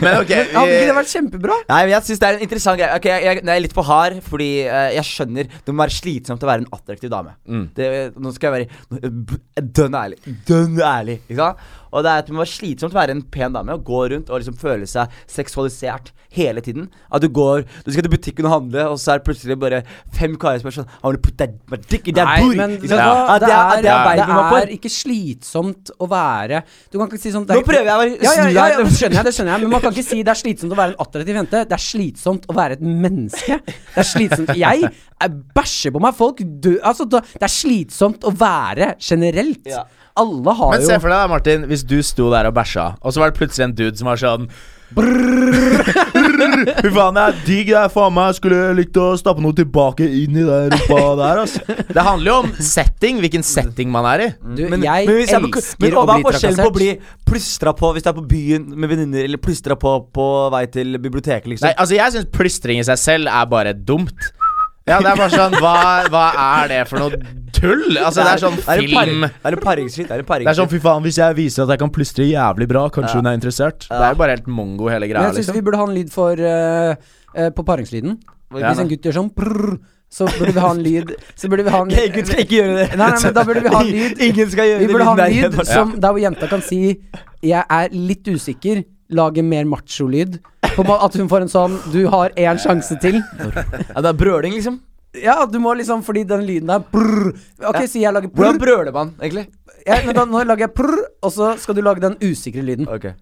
S1: Men ok,
S2: Hadde ikke det
S1: vi,
S2: vært kjempebra?
S3: Nei, men jeg synes det er en interessant greie. Ok, jeg, jeg, den er litt for hard, fordi eh, jeg skjønner det må være slitsomt å være en attraktiv dame.
S2: Mm.
S3: Det, nå skal jeg være nå- b- dønn ærlig. Dønn ærlig. Ikke sant? Og det, er, at det må være slitsomt å være en pen dame og gå rundt og liksom føle seg seksualisert hele tiden. At du går Du skal til butikken og handle, og så er det plutselig bare fem karer som er sånn I wanna put that my dick in that
S2: Nei,
S3: booty.
S2: men
S3: Ikke
S2: vet du
S3: sant?
S2: hva?
S3: At
S2: det,
S3: at
S2: er, det,
S3: veien vi må på.
S2: er, ikke slitsomt å være Du kan ikke si sånn det er-
S3: Nå prøver jeg å være-
S2: ja, ja, ja, ja,
S3: snu her.
S2: det skjønner jeg, det skjønner jeg. Men man kan ikke si det er slitsomt å være en attraktiv jente. Det er slitsomt å være et menneske. Det er slitsomt Jeg er- bæsjer på meg. Folk dør Altså, da- det er slitsomt å være generelt.
S3: Ja.
S2: Alle har
S1: men
S2: jo
S1: se for deg da, Martin, hvis du sto der og bæsja, og så var det plutselig en dude som var sånn Fy faen, jeg er digg. Jeg er faen meg skulle likt å stappe noe tilbake inn i den rumpa der. Altså. Det handler jo om setting, hvilken setting man er i.
S2: Du, Eh, jeg
S3: hvis er på-
S2: elsker
S3: men,
S2: å bli
S3: hva er forskjellen på
S2: trakassert.
S3: å bli plystra på hvis du er på byen med venninner, eller plystra på på vei til biblioteket, liksom?
S1: Nei, altså Jeg syns plystring i seg selv er bare dumt. Ja, det er bare sånn Hva, hva er det for noe tull! Altså, det er sånn
S3: det er
S1: film.
S3: Det er en paringsskitt. Det er en
S1: Det er sånn,
S3: paringsskitt.
S1: fy faen, hvis jeg viser at jeg kan plystre jævlig bra, kanskje hun er interessert? Det er jo bare helt mongo, hele
S2: Men
S1: greia,
S2: jeg syns
S1: liksom.
S2: vi burde ha en lyd for eh, eh, på paringslyden.
S1: Ja,
S2: Hvis en gutt gjør sånn prrr, så burde vi ha en lyd Så burde vi ha en
S3: Nei, gutt, skal ikke gjøre det.
S2: Nei, nei, men da burde vi ha en lyd.
S3: Ingen skal gjøre
S2: Vi burde ha en lyd
S3: det.
S2: som der hvor jenta kan si 'jeg er litt usikker', lage mer macho-lyd. På ma- At hun får en sånn 'du har én sjanse til'.
S3: Ja, det er brøling, liksom.
S2: Ja, du må liksom fordi den lyden der prrr. Ok, si jeg lager
S3: Hvordan
S2: prrr.
S3: brøler man, egentlig?
S2: Ja, men da, nå lager jeg prrr, og så skal du lage den usikre lyden.
S3: Ok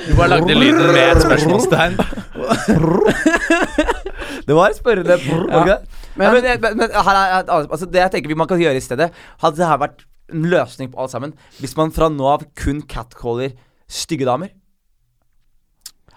S1: Du bare lagde lyden med et spørsmålstegn.
S3: Det var et spørrende brr, var det ikke det?
S2: Men-
S3: Nei, Men, jeg- men, men her er et annet altså, Det jeg tenker vi- man kan gjøre i stedet, hadde det her vært en løsning på alt sammen Hvis man fra nå av kun catcaller stygge damer?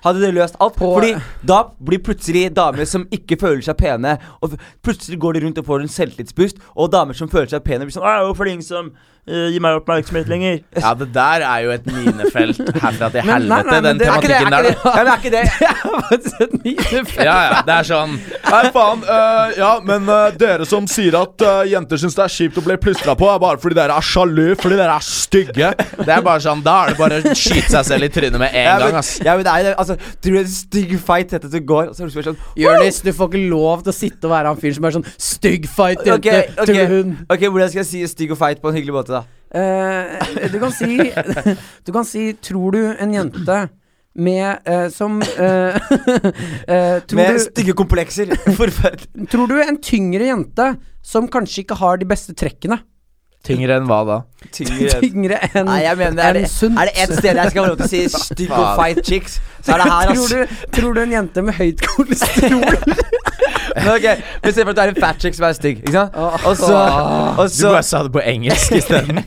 S3: Hadde det løst alt?
S2: På-
S3: Fordi da blir plutselig damer som ikke føler seg pene Og f- Plutselig går de rundt og får en selvtillitsboost, og damer som føler seg pene, blir sånn «Å, 'Hvorfor er det ingen som eh, gir meg oppmerksomhet lenger?'
S1: Ja, det der er jo et minefelt herfra til
S2: Men nei,
S1: helvete,
S2: nei, men
S1: den
S2: det er ikke det,
S1: tematikken
S3: er
S1: der.
S3: ikke det. Ja, men er ikke det.
S1: Ja, ja, det er sånn Nei, faen. øh, ja, men øh, dere som sier at øh, jenter syns det er kjipt å bli plystra på, er bare fordi dere er sjalu, fordi dere er stygge. Det er bare sånn, Da er det bare å skyte seg selv i trynet med en
S3: Ja, men,
S1: gang, ass.
S3: ja, men det er, altså, tror du en stygg fight heter det går, og så er det sånn
S2: Jonis, du får ikke lov til å sitte og være han fyren som er sånn stygg fight jente
S3: Ok, ok.
S2: til hun.
S3: ok, hvordan skal jeg si stygg og feit på en hyggelig måte, da?
S2: Eh, du kan si Du kan si 'tror du en jente med eh, som eh, eh, tror,
S3: Med
S2: du,
S3: stygge komplekser. Forferdelig.
S2: tror du en tyngre jente som kanskje ikke har de beste trekkene,
S1: Tyngre enn hva da?
S3: Tyngre.
S2: tyngre enn
S3: Nei, jeg mener, er det,
S2: enn sunt?
S3: er det et sted jeg skal få lov til å si stygg og
S1: Faen.
S3: feit chicks, så er det her, ass.
S2: tror, du, tror du en jente med høyt kolesterol
S3: Men ok, Vi ser for at du er en fat chick som er stygg, ikke sant?
S2: Åh.
S3: Og så, og
S1: Du
S3: så
S1: bare sa det på engelsk isteden.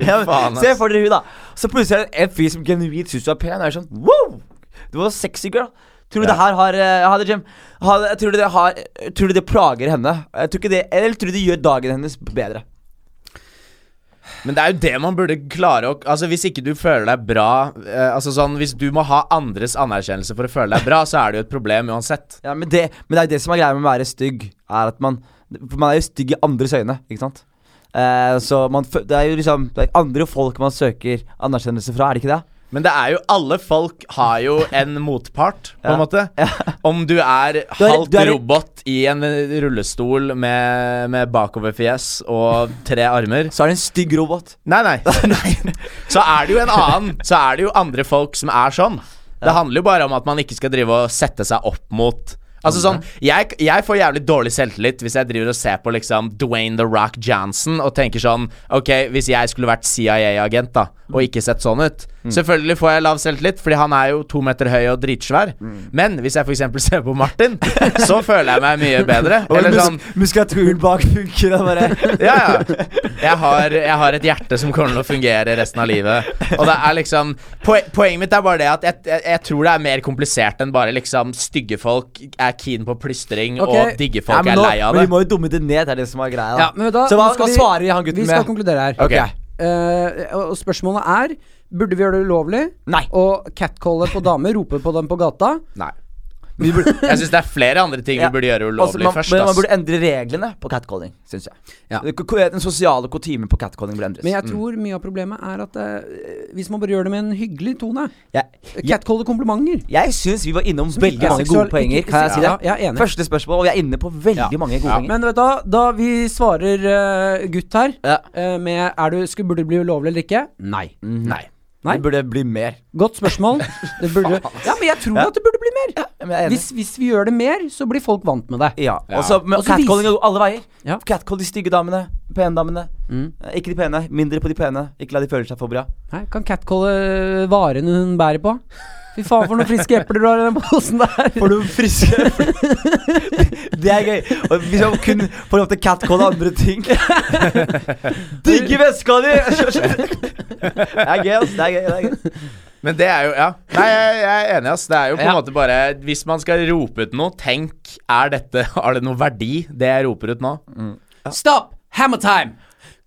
S3: ja,
S1: Faen, ass.
S3: men, Se for dere hun, da. Så plutselig er det en fyr som genuint syns du er pen, og er sånn wow! Du var sexy girl. Tror du
S1: Ja.
S3: det her har eh, Hadde Jim hadde, tror, du det har, tror du det plager henne? Jeg tror ikke det, eller tror du det gjør dagen hennes bedre?
S1: Men det er jo det man burde klare å Altså Hvis ikke du føler deg bra eh, Altså sånn Hvis du må ha andres anerkjennelse for å føle deg bra, så er det jo et problem uansett.
S3: Ja, men det, men det er jo det som er greia med å være stygg, er at man For man er jo stygg i andres øyne, ikke sant? Eh, så man fø- Det er jo liksom Det er andre folk man søker anerkjennelse fra, er det ikke det?
S1: Men det er jo alle folk har jo en motpart, på en
S3: Ja.
S1: måte. Om du er
S3: Du er-
S1: halvt
S3: du er-
S1: robot i en eh, rullestol med, med bakoverfjes og tre armer
S3: Så er det en stygg robot.
S1: Nei, nei. Så er det jo en annen. Så er det jo andre folk som er sånn. Det handler jo bare om at man ikke skal drive og sette seg opp mot Altså sånn, jeg, jeg får jævlig dårlig selvtillit hvis jeg driver og ser på liksom Dwayne The Rock Johnson og tenker sånn Ok, hvis jeg skulle vært CIA-agent da og ikke sett sånn ut Selvfølgelig får jeg lav selvtillit, fordi han er jo to meter høy og dritsvær. Men hvis jeg f.eks. ser på Martin, så føler jeg meg mye bedre.
S3: Og
S1: Eller
S3: mus
S1: sånn
S3: Muskulaturen bak funker og bare
S1: ja, ja. Jeg har, jeg har et hjerte som kommer til å fungere resten av livet. Og det er liksom poe- Poenget mitt er bare det at jeg, jeg, jeg tror det er mer komplisert enn bare liksom stygge folk er keen på plystring,
S2: Ok.
S1: og digge
S3: Ja,
S1: folk
S3: men
S1: er
S3: nå-
S1: lei av
S3: Men
S1: det.
S3: vi må jo dumme det ned, det er det som er greia. Da.
S2: Ja, men da-
S3: så hva
S2: nå skal
S3: skal
S2: vi-
S3: svarer han gutten
S2: Vi
S3: med?
S2: skal konkludere her.
S1: Ok.
S2: Eh, og og spørsmålet er Burde vi gjøre det ulovlig
S3: Nei.
S2: å catcalle på damer, rope på dem på gata?
S1: Nei.
S3: Vi burde,
S1: Jeg syns det er flere andre ting
S3: Ja.
S1: vi burde gjøre
S3: Altså,
S1: ulovlig
S3: man,
S1: først.
S3: men man
S1: ass.
S3: burde endre reglene på catcalling, syns jeg.
S2: Ja.
S3: Det- ko- Den sosiale kutymen på catcalling burde endres.
S2: Men jeg tror mye av problemet er at eh, hvis man bare gjør det med en hyggelig tone
S3: jeg,
S2: Catcalle komplimenter.
S3: Jeg syns vi var innom
S2: Som
S3: veldig
S2: ikke er
S3: mange
S2: seksual-
S3: gode poenger.
S2: ikke-
S3: Kan jeg si det?
S2: ja, jeg er enig.
S3: Første spørsmål, og vi er inne på veldig
S1: Ja.
S3: mange gode
S1: Ja.
S3: poenger.
S2: Men vet du, hva, da vi svarer eh, gutt her
S3: Ja.
S2: eh, med er du, skulle, Burde det bli ulovlig eller ikke? Nei.
S1: Nei.
S2: Nei.
S3: Det burde bli mer.
S2: Godt spørsmål. Det burde, ja, men jeg tror at det burde bli mer.
S3: men altså. jeg er enig.
S2: hvis, hvis vi gjør det mer, så blir folk vant med det.
S3: Ja.
S1: Ja.
S3: Og så men
S2: Og så
S3: catcalling går alle veier.
S2: Ja. Mm.
S3: Catcall de stygge damene, pene damene. Eh, Ikke de pene. Mindre på de pene. Ikke la de føle seg for bra.
S2: Nei, kan catcalle varene hun bærer på? Fy faen, for noen friske epler du har i den posen der.
S3: For du friske Det er gøy. Og hvis man kun får lov til å catcalle andre ting Digge veska di! Det er gøy, ass. Det er gøy. Det er gøy.
S1: Men det er jo Ja. Nei, jeg, jeg er enig, ass. Det er jo på en
S3: Ja.
S1: måte bare Hvis man skal rope ut noe, tenk Er dette Har det noe verdi, det jeg roper ut nå?
S2: Stopp! Hammer time!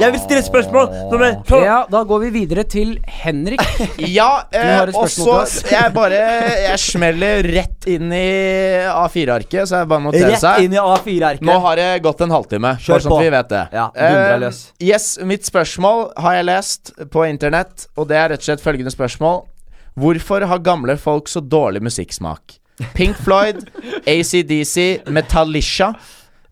S3: Jeg vil stille spørsmål! Nummer to!
S2: Ja, da går vi videre til Henrik.
S1: Ja,
S2: har
S1: eh,
S2: et
S1: og så
S2: spørsmål til oss.
S1: jeg bare Jeg smeller rett inn i A4-arket, så jeg bare noterer
S3: Rett
S1: seg.
S3: inn i A4-erket.
S1: Nå har det gått en halvtime,
S3: Kjør
S1: bare sånn at
S3: på.
S1: vi vet det.
S3: Ja, dundra
S1: Eh,
S3: løs.
S1: yes, mitt spørsmål har jeg lest på internett, og det er rett og slett følgende spørsmål. Hvorfor har gamle folk så dårlig musikksmak? Pink Floyd, ACDC, Metallica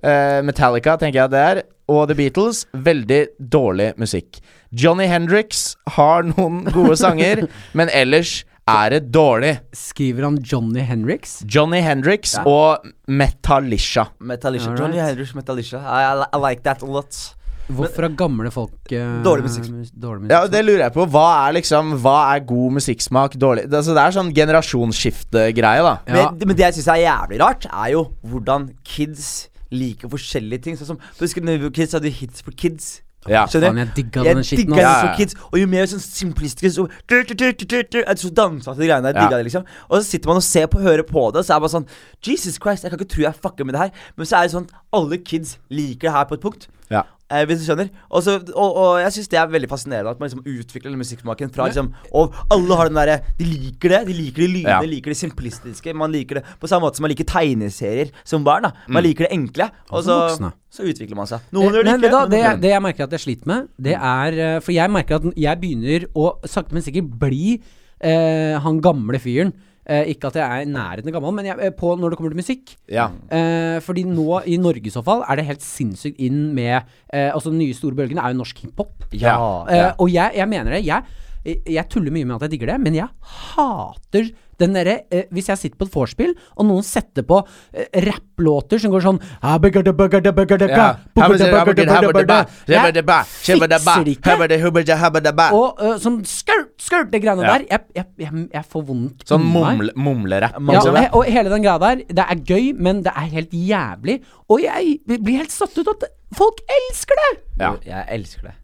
S1: eh, Metallica, tenker jeg det er, og The Beatles, veldig dårlig musikk. Johnny Hendrix har noen gode sanger, men ellers er det dårlig.
S2: Skriver han Johnny Henriks?
S1: Johnny Hendrix og Metallica.
S3: Metallica.
S2: Alright.
S3: Johnny Henrich Metallica. I, I, li- I like that a lot.
S2: Hvorfor har gamle folk eh,
S3: Dårlig musikk.
S2: mus- Dårlig musikk.
S1: Ja, og det lurer jeg på. Hva er liksom Hva er god musikksmak? Dårlig det, altså, det er sånn generasjonsskiftegreie, da.
S2: Ja.
S3: Men, men det jeg syns er jævlig rart, er jo hvordan kids liker forskjellige ting. Sånn som Husker du da vi var kids, så hadde vi hits for kids.
S1: Ja.
S3: Skjønner
S2: Faen,
S3: du?
S2: jeg digga den shiten,
S3: digga
S1: ass.
S3: det for kids, og jo mer sånn simplistiske så, du, du, du, du, du, du, så dansa til de greiene der.
S1: Ja.
S3: Digga det, liksom. Og så sitter man og ser på hører på det, og så er man sånn Jesus Christ, jeg kan ikke tro jeg fucker med det her. Men så er det sånn alle kids liker det her på et punkt.
S1: Ja.
S3: Eh, hvis du skjønner. Og, så, og, og jeg syns det er veldig fascinerende at man liksom utvikler den musikksmaken fra liksom Og alle har den derre De liker det. De liker de lydene,
S1: Ja.
S3: de liker det simplistiske. Man liker det på samme måte som man liker tegneserier som barn. da
S1: Mm.
S3: Man liker det enkle, og så,
S2: Også voksne.
S3: så utvikler man seg. Noen gjør
S2: Eh,
S3: det
S2: Men
S3: ikke.
S2: vet du hva,
S3: noen
S2: det,
S3: gjør det. Mm.
S2: det jeg merker at jeg sliter med, det er eh, For jeg merker at n- jeg begynner å sakte, men sikkert bli eh, han gamle fyren. Eh, ikke at jeg er i nærheten av gammel, men jeg, eh, på når det kommer til musikk.
S1: Ja.
S2: Eh, fordi nå, i Norge i så fall, er det helt sinnssykt inn med eh, Altså, den nye store bølgen er jo norsk hiphop.
S1: Ja.
S2: Eh, og jeg, jeg mener det. Jeg, jeg tuller mye med at jeg digger det, men jeg hater den derre eh, Hvis jeg sitter på et vorspiel, og noen setter på eh, rapplåter som går sånn «Ah, bugada, bugada, bugada,
S1: Ja.
S2: bugada, bugada, bugada». Jeg fikser det ikke.
S1: ikke.
S2: Og eh, sånn skurt, skurt, det greiene
S1: Ja.
S2: der. Jeg, jeg, jeg, jeg får vondt
S1: Sånn
S2: inni meg.
S1: mumle- mumlerapp.
S2: Ja,
S1: liksom.
S2: og, he- og hele den greia der, det er gøy, men det er helt jævlig. Og jeg blir helt satt ut at folk elsker det!
S1: Ja.
S3: Jeg elsker det.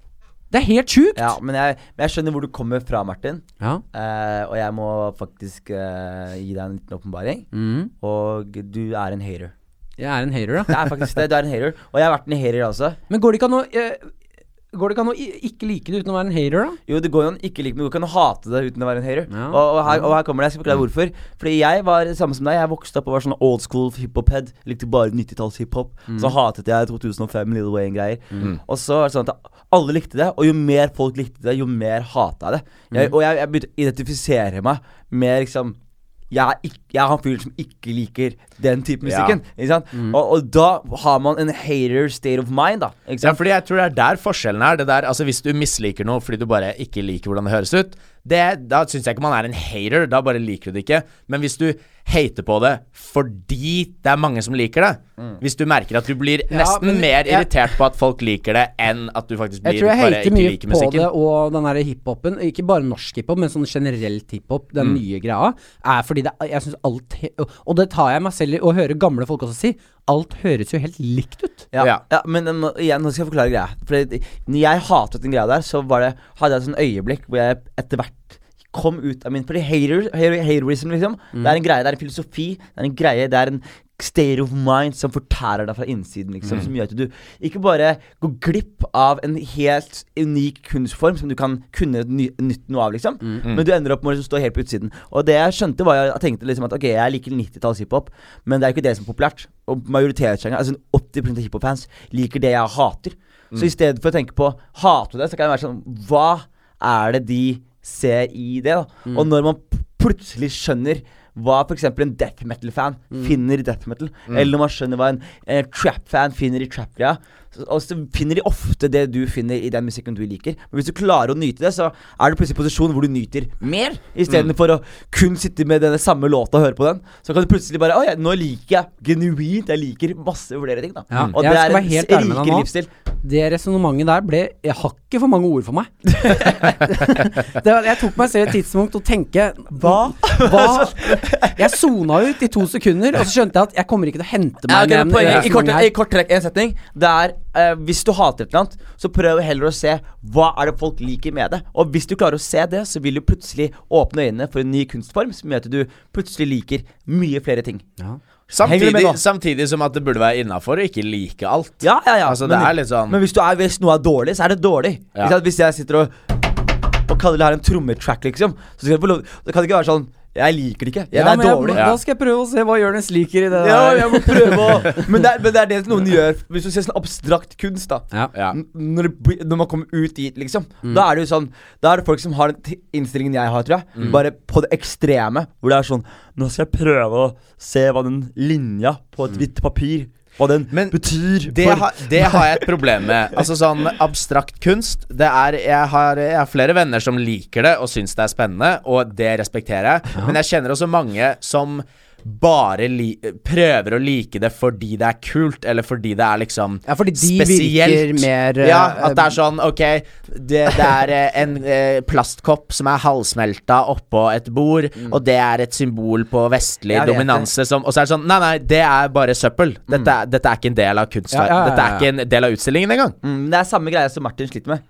S2: Det er helt sjukt.
S3: Ja, men jeg, men jeg skjønner hvor du kommer fra, Martin.
S2: Ja.
S3: Eh, og jeg må faktisk eh, gi deg en liten åpenbaring.
S2: Mm.
S3: Og du er en hater.
S2: Jeg er en hater,
S3: Det
S2: da.
S3: er faktisk det. Du er en hater. Og jeg har vært en hater også.
S2: Men går det ikke an å eh, Går det ikke an å i- ikke like det uten å være en hater, da?
S3: Jo, det går jo an å ikke like, men du kan jo hate det uten å være en hater.
S2: Ja.
S3: Og, og, her, og her kommer det. Jeg skal forklare hvorfor. Fordi jeg var samme som deg. Jeg vokste opp og var sånn old school hiphop-head. Likte bare 90-talls hiphop. Så hatet jeg 2005 Little Wayne-greier. Og så er det sånn at alle likte det, og jo mer folk likte det, jo mer hata jeg det. Jeg, og jeg, jeg begynte å identifisere meg med liksom jeg er, ikk- jeg er han fyren som ikke liker den type
S1: Ja.
S3: musikken. Ikke sant? Og, og da har man en hater state of mind, da. Ikke sant?
S1: Ja, fordi jeg tror det er der forskjellen er. Det der, altså Hvis du misliker noe fordi du bare ikke liker hvordan det høres ut, det, da syns jeg ikke man er en hater. Da bare liker du det ikke. Men hvis du hater på det fordi det er mange som liker det Hvis du merker at du blir nesten
S2: Mm. men
S1: mer
S2: jeg-
S1: irritert på at folk liker det, enn at du faktisk
S2: Jeg
S1: blir
S2: tror jeg
S1: bare
S2: hater
S1: ikke
S2: mye
S1: liker
S2: på det
S1: musikken.
S2: og den der hiphopen. Ikke bare norsk hiphop, men sånn generelt hiphop, den
S3: Mm.
S2: nye greia. Er fordi det, jeg synes alt he- og- Og det tar jeg meg selv i å høre gamle folk også si. Alt høres jo helt likt ut.
S3: Ja,
S1: Ja.
S3: ja. men um, igjen, nå skal jeg forklare greia. For når jeg hatet den greia der, så var det, hadde jeg et sånn øyeblikk hvor jeg etter hvert kom ut av min Fordi hater, hater, haterism, liksom, det er en greie, det er en filosofi, det er en greie, det er en state of mind som fortærer deg fra innsiden, liksom, som gjør at du ikke bare går glipp av en helt unik kunstform som du kan kunne ny, nytt noe av, liksom, men du ender opp med å stå helt på utsiden. Og det jeg skjønte, var jeg tenkte liksom at ok, jeg liker 90-talls hiphop, men det er jo ikke det som er populært. Og majoritetssjangeren, altså 80 av hiphop-fans, liker det jeg hater. Så i stedet for å tenke på hater du det, så kan jeg være sånn Hva er det de ser i det? da? Og når man p- plutselig skjønner hva f.eks. en death metal-fan finner i death metal, eller man skjønner hva en, eh, trap-fan finner i trap-greia, så- og så finner de ofte det du finner i den musikken du liker. Men hvis du klarer å nyte det, så er du plutselig i posisjon hvor du nyter mer,
S2: Mm.
S3: istedenfor å kun sitte med denne samme låta og høre på den. Så kan du plutselig bare Å ja, nå liker jeg genuint Jeg liker masse flere ting, da.
S2: Ja,
S3: Og
S2: Mm. jeg
S3: det
S2: skal
S3: er
S2: være
S3: en
S2: helt
S3: s-
S2: ærlig med deg
S3: rikere
S2: nå.
S3: livsstil.
S2: Det resonnementet der ble jeg hakket for mange ord for meg. det, var- jeg tok meg selv et tidspunkt å tenke Hva? Hva? Jeg sona ut i to sekunder, og så skjønte jeg at jeg kommer ikke til å hente
S3: Ja,
S2: meg
S3: ok, men
S2: igjen. i
S3: poenget, I kort,
S2: resonnementet her.
S3: i kort trekk, en setning. Det er eh, Hvis du hater et eller annet, så prøv heller å se hva er det folk liker med det. Og hvis du klarer å se det, så vil du plutselig åpne øynene for en ny kunstform som gjør at du plutselig liker mye flere ting.
S2: Ja.
S3: Henger du med
S1: Samtidig,
S3: nå?
S1: samtidig som at det burde være innafor å ikke like alt.
S3: Ja, ja, ja.
S1: Altså, det er litt sånn-
S3: men hvis, du er, hvis noe er dårlig, så er det dårlig.
S1: Ja.
S3: Ikke sant? Hvis jeg sitter og, og kaller det her en trommetrack, liksom, så skal jeg få lov, det kan ikke være sånn Jeg liker det ikke. Ja, det
S2: jeg,
S3: er dårlig.
S1: Ja.
S2: Da skal jeg prøve å se hva Jonis liker i det
S3: Ja,
S2: der.
S3: jeg må prøve å men det, er, men det er det noen gjør. Hvis du ser sånn abstrakt kunst, da.
S2: Ja.
S1: Ja. Mm.
S3: N- Når, det, blir- når man kommer ut dit, liksom. Da er det jo sånn Da er det folk som har den t- innstillingen jeg har, tror jeg.
S1: Mm.
S3: Bare på det ekstreme. Hvor det er sånn Nå skal jeg prøve å se hva den linja på et hvitt papir Hva den
S1: Mm. Men
S3: betyr
S1: Det,
S3: for
S1: ha, det har jeg et problem med. Altså sånn abstrakt kunst det er, jeg, har, jeg har flere venner som liker det og syns det er spennende, og det respekterer jeg. Men jeg kjenner også mange som bare li prøver å like det fordi det er kult, eller fordi det er liksom
S2: Ja, fordi de virker mer, eh,
S1: Ja, at det er sånn Ok, det, det er eh, en eh, plastkopp som er halvsmelta oppå et bord,
S2: Mm.
S1: og det er et symbol på vestlig
S3: Jeg vet det.
S1: dominanse som Og så er det sånn Nei, nei, det er bare søppel. Dette,
S2: Mm.
S1: er- dette er ikke en del av kunst.
S2: Ja, ja, ja, ja.
S1: Dette er ikke en del av utstillingen engang.
S3: Mm, men det er samme greia som Martin sliter med.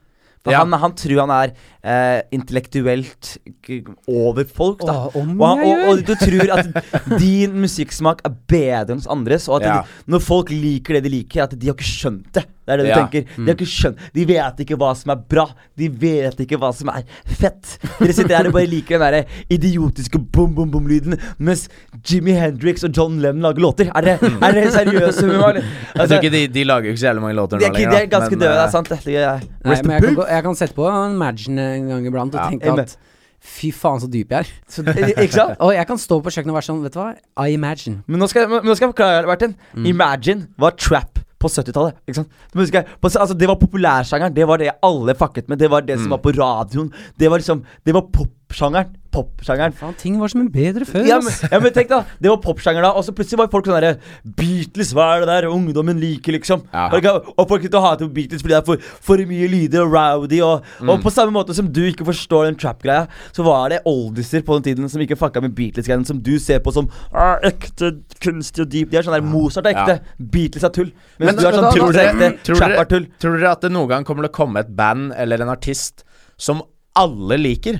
S3: For
S1: Ja.
S3: han, han tror han er eh, intellektuelt k- over folk, da.
S2: Åh, om
S3: og, han,
S2: jeg
S3: og, og
S2: gjør.
S3: du tror at din musikksmak er bedre enn hos andres, og at
S1: Ja.
S3: de, når folk liker det de liker, at de har ikke skjønt det. Det er det du
S1: Ja. Mm.
S3: tenker. De har ikke skjønt De vet ikke hva som er bra. De vet ikke hva som er fett. Dere sitter her og bare liker den derre idiotiske bom-bom-bom-lyden, mens Jimmy Hendrix og John Lennon lager låter. Er dere er dere seriøse med meg? eller?
S1: Jeg
S3: Altså,
S1: tror ikke de, de lager jo ikke så jævlig mange låter
S3: de
S1: nå
S3: er, ikke, de er
S1: da,
S3: ganske
S1: men,
S3: døde,
S1: eh,
S3: altså. det er sant. Det er,
S2: Nei, men jeg
S3: rest in
S2: kan,
S3: peace.
S2: gå- jeg kan sette på Imagine en gang iblant og tenke
S3: amen.
S2: at fy faen, så dyp jeg er.
S3: Så, ikke sant?
S2: Og jeg kan stå på kjøkkenet og være sånn, vet du hva, I imagine.
S3: Men nå skal, jeg- men nå skal jeg forklare, Martin.
S2: Mm.
S3: Imagine var trap på 70-tallet. ikke sant? Du må huske, på, altså, det var populærsjangeren. Det var det alle fucket med. Det var det som
S2: Mm.
S3: var på radioen. Det var liksom, det var popsjangeren. Popsjangeren.
S2: Faen, ting var som en bedre før.
S3: Ja, men,
S2: ass.
S3: ja, men tenk da, det var popsjanger da, og så plutselig var folk sånn derre Beatles, hva er det der ungdommen liker, liksom?
S1: Ja.
S3: Og ikke- Og folk begynte å hate på Beatles fordi det er for, for mye lyder og rowdy, og,
S1: Mm.
S3: og på samme måte som du ikke forstår den trap-greia, så var det oldiser på den tiden som ikke fucka med Beatles-greiene, som du ser på som «Ah, ekte, kunstig og deep. De er sånn der Mozart er ekte, Beatles er tull.
S1: Men
S3: Mens du er sånn
S1: tror
S3: Beatles er ekte,
S1: dere, tror,
S3: trap er
S1: dere,
S3: tull.
S1: tror dere at det noen gang kommer til å komme et band eller en artist som alle liker?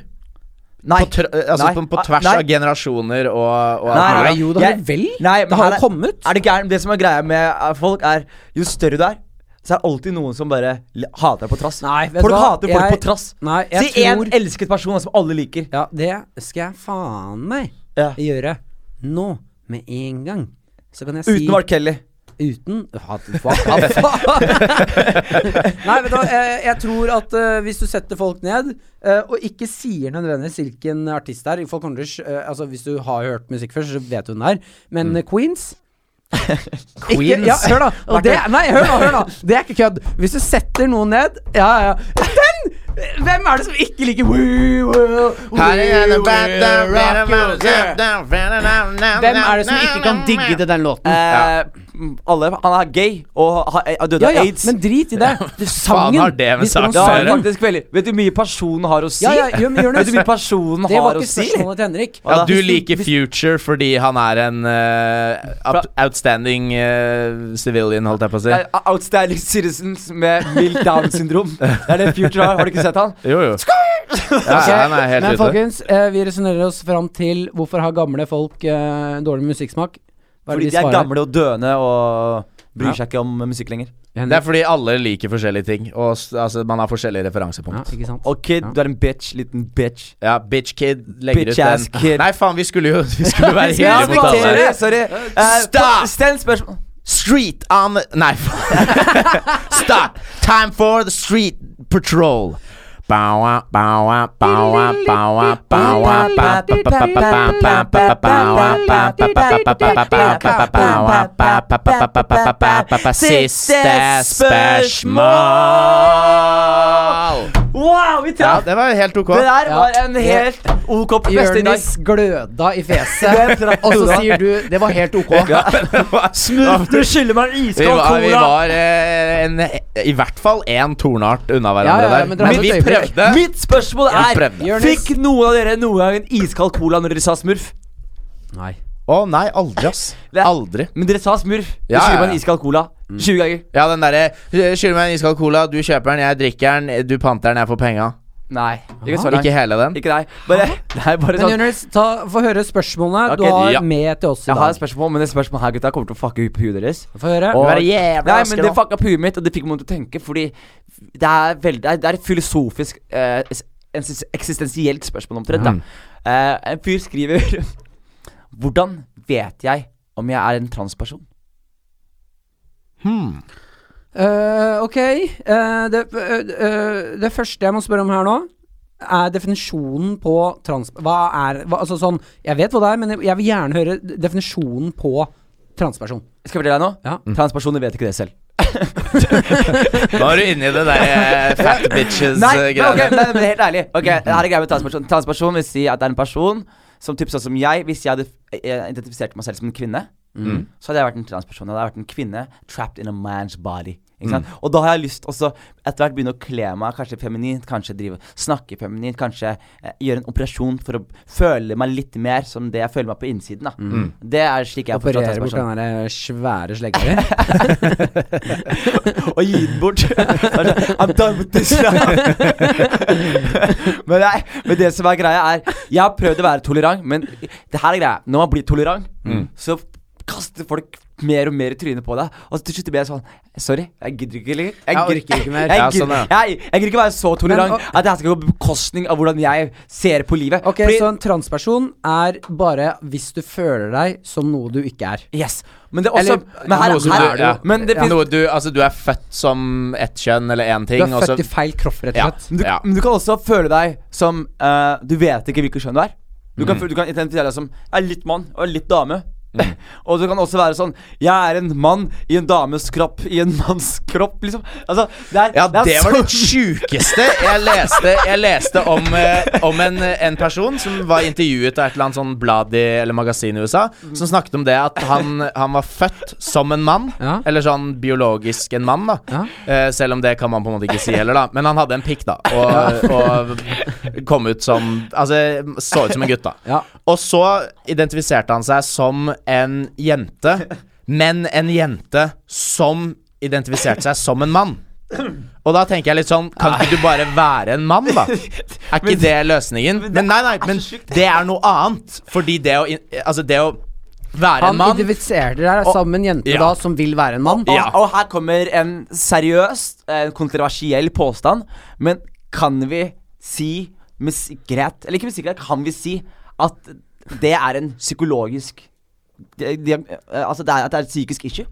S3: Nei.
S1: På, tr altså
S3: Nei.
S1: på, på
S3: Ah,
S1: tvers
S3: nei.
S1: av generasjoner og, og alt
S3: Nei,
S1: mulig.
S3: nei,
S2: Nei, jo da
S3: Jeg-
S2: vel.
S3: Nei, men
S2: det har
S3: her
S2: jo kommet.
S3: Er det gæren? Det som er greia med eh, folk, er jo større du er, så er det alltid noen som bare li- hater deg på trass.
S2: Nei, vet du
S3: folk
S2: hva?
S3: hater folk
S2: Jeg-
S3: på trass.
S2: Nei, jeg
S3: Si én
S2: tror-
S3: elsket person da, som alle liker.
S2: Ja, det skal jeg faen meg
S3: Ja.
S2: gjøre nå, med en gang. Så kan jeg si
S3: Uten Mark Kelly.
S2: Uten hva, hva, hva faen? Nei, vet du hva. Jeg, jeg tror at eh, hvis du setter folk ned, eh, og ikke sier nødvendigvis hvilken artist det er folk kommer til, å skj- eh, altså Hvis du har hørt musikk før, så vet du den der. Men eh, Queens Ikke,
S1: Queens?
S2: ja, hør da. Og det, nei, hør da, hør da. Det er ikke kødd. Hvis du setter noen ned Ja, ja, ja. Den! Hvem er det som ikke liker We will, we will rock you? Hvem
S1: Hvem
S2: er det som ikke kan digge til den låten?
S3: Eh, alle, han er gay og eh, har, er døde
S2: Ja,
S3: av
S2: ja,
S3: aids.
S2: men drit i det. det sangen.
S1: har det med
S2: Vi spør
S1: saken
S2: om
S1: å
S3: ja,
S1: gjøre?
S2: sangen.
S3: faktisk veldig Vet du hvor mye personen har å si?
S2: Ja, ja, jo, men Jonas,
S3: Vet du hvor mye personen
S2: Det var
S3: har å
S2: ikke
S3: si?
S2: spørsmålet til Henrik.
S1: Ja,
S3: da?
S1: du
S3: Altså, Hvis du-
S1: liker Future fordi han er en eh, out- outstanding eh, civilian, holdt jeg på å si.
S3: Ja, Outstanding citizens med mild down syndrom. Det er det Future har. Har du ikke sett han?
S1: Jo, jo. Ja,
S2: Ok,
S1: ja, han er helt
S2: Men
S1: ute.
S2: folkens, eh, vi resonnerer oss fram til hvorfor har gamle folk eh, dårlig musikksmak? Hva
S3: Fordi
S2: det
S3: de er
S2: svarer?
S3: gamle og døende og bryr
S2: Ja.
S3: seg ikke om musikk lenger.
S1: Det er
S2: Henrik.
S1: fordi alle liker forskjellige ting, og s- altså, man har forskjellige
S2: Ja,
S1: referansepunkt.
S2: ikke sant.
S3: Og kid,
S2: Ja.
S3: du er en bitch. Liten bitch.
S1: Ja, bitch kid legger
S3: Bitch
S1: ut
S3: ass
S1: den.
S3: kid.
S1: Nei, faen, vi skulle jo Vi skulle jo være
S2: Vi skulle
S1: hyggelige mot
S2: respektere
S1: alle.
S3: Sorry, sorry. Eh,
S1: Stop!
S3: Still spørsmål.
S1: Street on Nei, stop! Time for the street patrol. Bow-wow, bow-wow, bow-wow, bow-wow, bow-wow, bow-wow, bow-wow, bow-wow, bow-wow, bow-wow, bow-wow, Siste spørsmål!
S3: Wow, vi
S1: Ja,
S3: traff!
S1: det var helt ok.
S3: Det der
S2: Ja.
S3: var en helt OK beste i dag.
S2: Jonis gløda i
S3: Det
S2: fjeset,
S3: traff
S2: og
S3: du
S2: så
S3: da.
S2: sier du 'det var helt ok'.
S3: Smurf, du skylder meg en
S1: Vi
S3: iskald
S1: var, vi
S3: cola!
S1: var eh, en, i hvert fall én tornart unna hverandre
S2: Ja, ja, ja, men
S1: der. Men
S2: dere hadde
S1: vi
S2: et øyeblikk.
S1: prøvde.
S3: Mitt spørsmål
S1: Jeg
S3: er
S1: prøvde.
S3: Fikk noen av dere noen gang en iskald cola når dere sa smurf?
S2: Nei.
S1: Å nei, aldri, ass.
S3: Det-
S1: Aldri.
S3: Men dere sa smurf. Du
S1: Ja, ja,
S3: skylder meg
S1: ja. Mm.
S3: en iskald cola. 20 ganger.
S1: eh, Ja, den derre Skylder meg en iskald cola, du kjøper den, jeg drikker den, du eh, panter den, jeg får penga.
S3: Ah, Nei, ikke så langt.
S1: Ikke hele den?
S3: Ikke deg. Bare, nei, bare
S2: Men
S3: sånn
S2: Jonis, ta- få høre spørsmålene du
S3: Ok,
S2: har
S1: ja.
S2: med til oss i
S3: Jeg har
S2: dag.
S3: et spørsmål, men det spørsmålet her, gutta, kommer til å fucke opp huet deres.
S2: Få høre.
S3: Og-
S1: Være jævla
S3: Nei,
S1: raske
S3: men det
S1: nå.
S3: fucka opp huet mitt, og det fikk meg til å tenke, fordi det er, veldig, det er- det er et filosofisk eh, es- ens- eksistensielt spørsmål omtrent, da.
S2: Mm.
S1: Mhm.
S3: Eh, en fyr skriver Hvordan vet jeg om jeg er en transperson?
S1: Hmm.
S2: Eh, ok. eh, det, eh, eh, det første jeg må spørre om her nå, er definisjonen på trans... Hva er hva, Altså sånn Jeg vet hva det er, men jeg, jeg vil gjerne høre d- definisjonen på transperson.
S3: Skal jeg fortelle deg noe?
S2: Ja.
S3: Transpersoner vet ikke det selv.
S1: Nå er du inni det der eh, fat
S3: Nei, men, ok,
S1: bitches-greiene.
S3: nei, men helt ærlig. Ok, her er greia med transperson. Transperson vil si at det er en person som typ sånn som jeg, hvis jeg hadde eh, identifisert meg selv som en kvinne, Mm. så hadde jeg vært en transperson. Jeg hadde vært en kvinne trapped in a man's body. Ikke sant? Og da har jeg lyst også etter hvert begynne å kle meg kanskje feminint, kanskje drive, snakke feminint, kanskje eh, gjøre en operasjon for å føle meg litt mer som det jeg føler meg på innsiden. da Det er slik jeg forstår
S2: Operere bort
S3: transperson.
S2: den der svære slegga di.
S3: og gi den bort. I'm done with this now. men, nei, men det som er greia, er Jeg har prøvd å være tolerant, men det her er greia. Når man blir tolerant,
S1: Mm.
S3: så kaster folk mer og mer i trynet på deg. Og til slutt blir jeg sånn Sorry, jeg gidder ikke lenger. Jeg
S1: Jeg
S3: gidder-
S1: orker ikke mer.
S3: Jeg,
S1: Ja,
S3: gidder-
S1: sånn,
S3: jeg, jeg gidder ikke være så
S2: Men,
S3: tolerant
S2: og-
S3: at det her skal gå på bekostning av hvordan jeg ser på livet.
S2: Ok,
S3: Fordi-
S2: Så en transperson er bare hvis du føler deg som noe du ikke er.
S3: Yes. Men det er også
S2: Eller-
S3: Men her,
S1: Noe som
S3: her
S1: du-
S3: er det
S1: ja.
S3: jo Men det finnes-
S1: Noe du, altså, du er født som ett kjønn eller én
S2: Du
S1: ting,
S2: er
S1: og så
S2: født i feil kropp, rett
S1: Ja.
S2: og slett.
S3: Men du,
S1: Ja.
S3: men du kan også føle deg som eh, Du vet ikke hvilket kjønn du er. Du
S1: Mhm.
S3: kan, føle- du kan identifisere deg som Jeg er litt mann og litt dame. og du kan også være sånn Jeg er en mann i en dames kropp i en manns kropp, liksom. Altså, det er,
S1: Ja,
S3: er
S1: det var
S3: så-
S1: det sjukeste jeg leste. Jeg leste om, eh, om en, en person som var intervjuet av et eller annet sånn blad i, eller magasin i USA, som snakket om det at han, han var født som en mann.
S2: Ja.
S1: Eller sånn biologisk en mann, da.
S2: Ja.
S1: Eh, selv om det kan man på en måte ikke si heller, da. Men han hadde en pikk, da. Og, og kom ut som Altså, så ut som en gutt, da.
S2: Ja.
S1: Og så identifiserte han seg som en jente, men en jente som identifiserte seg som en mann. Og da tenker jeg litt sånn Kan ikke du bare være en mann, da? Er ikke det løsningen? Men nei, nei, men det er noe annet. Fordi det å in- Altså, det å være en
S2: Han
S1: mann
S2: identifiserer deg
S1: Og-
S2: som en jente
S1: Ja.
S2: da som vil være en mann.
S3: og,
S1: Ja.
S3: og her kommer en seriøs, eh, kontroversiell påstand. Men kan vi si med sikkerhet Eller ikke med sikkerhet, kan vi si at det er en psykologisk det, det, eh, Altså det er, at det er et psykisk issue?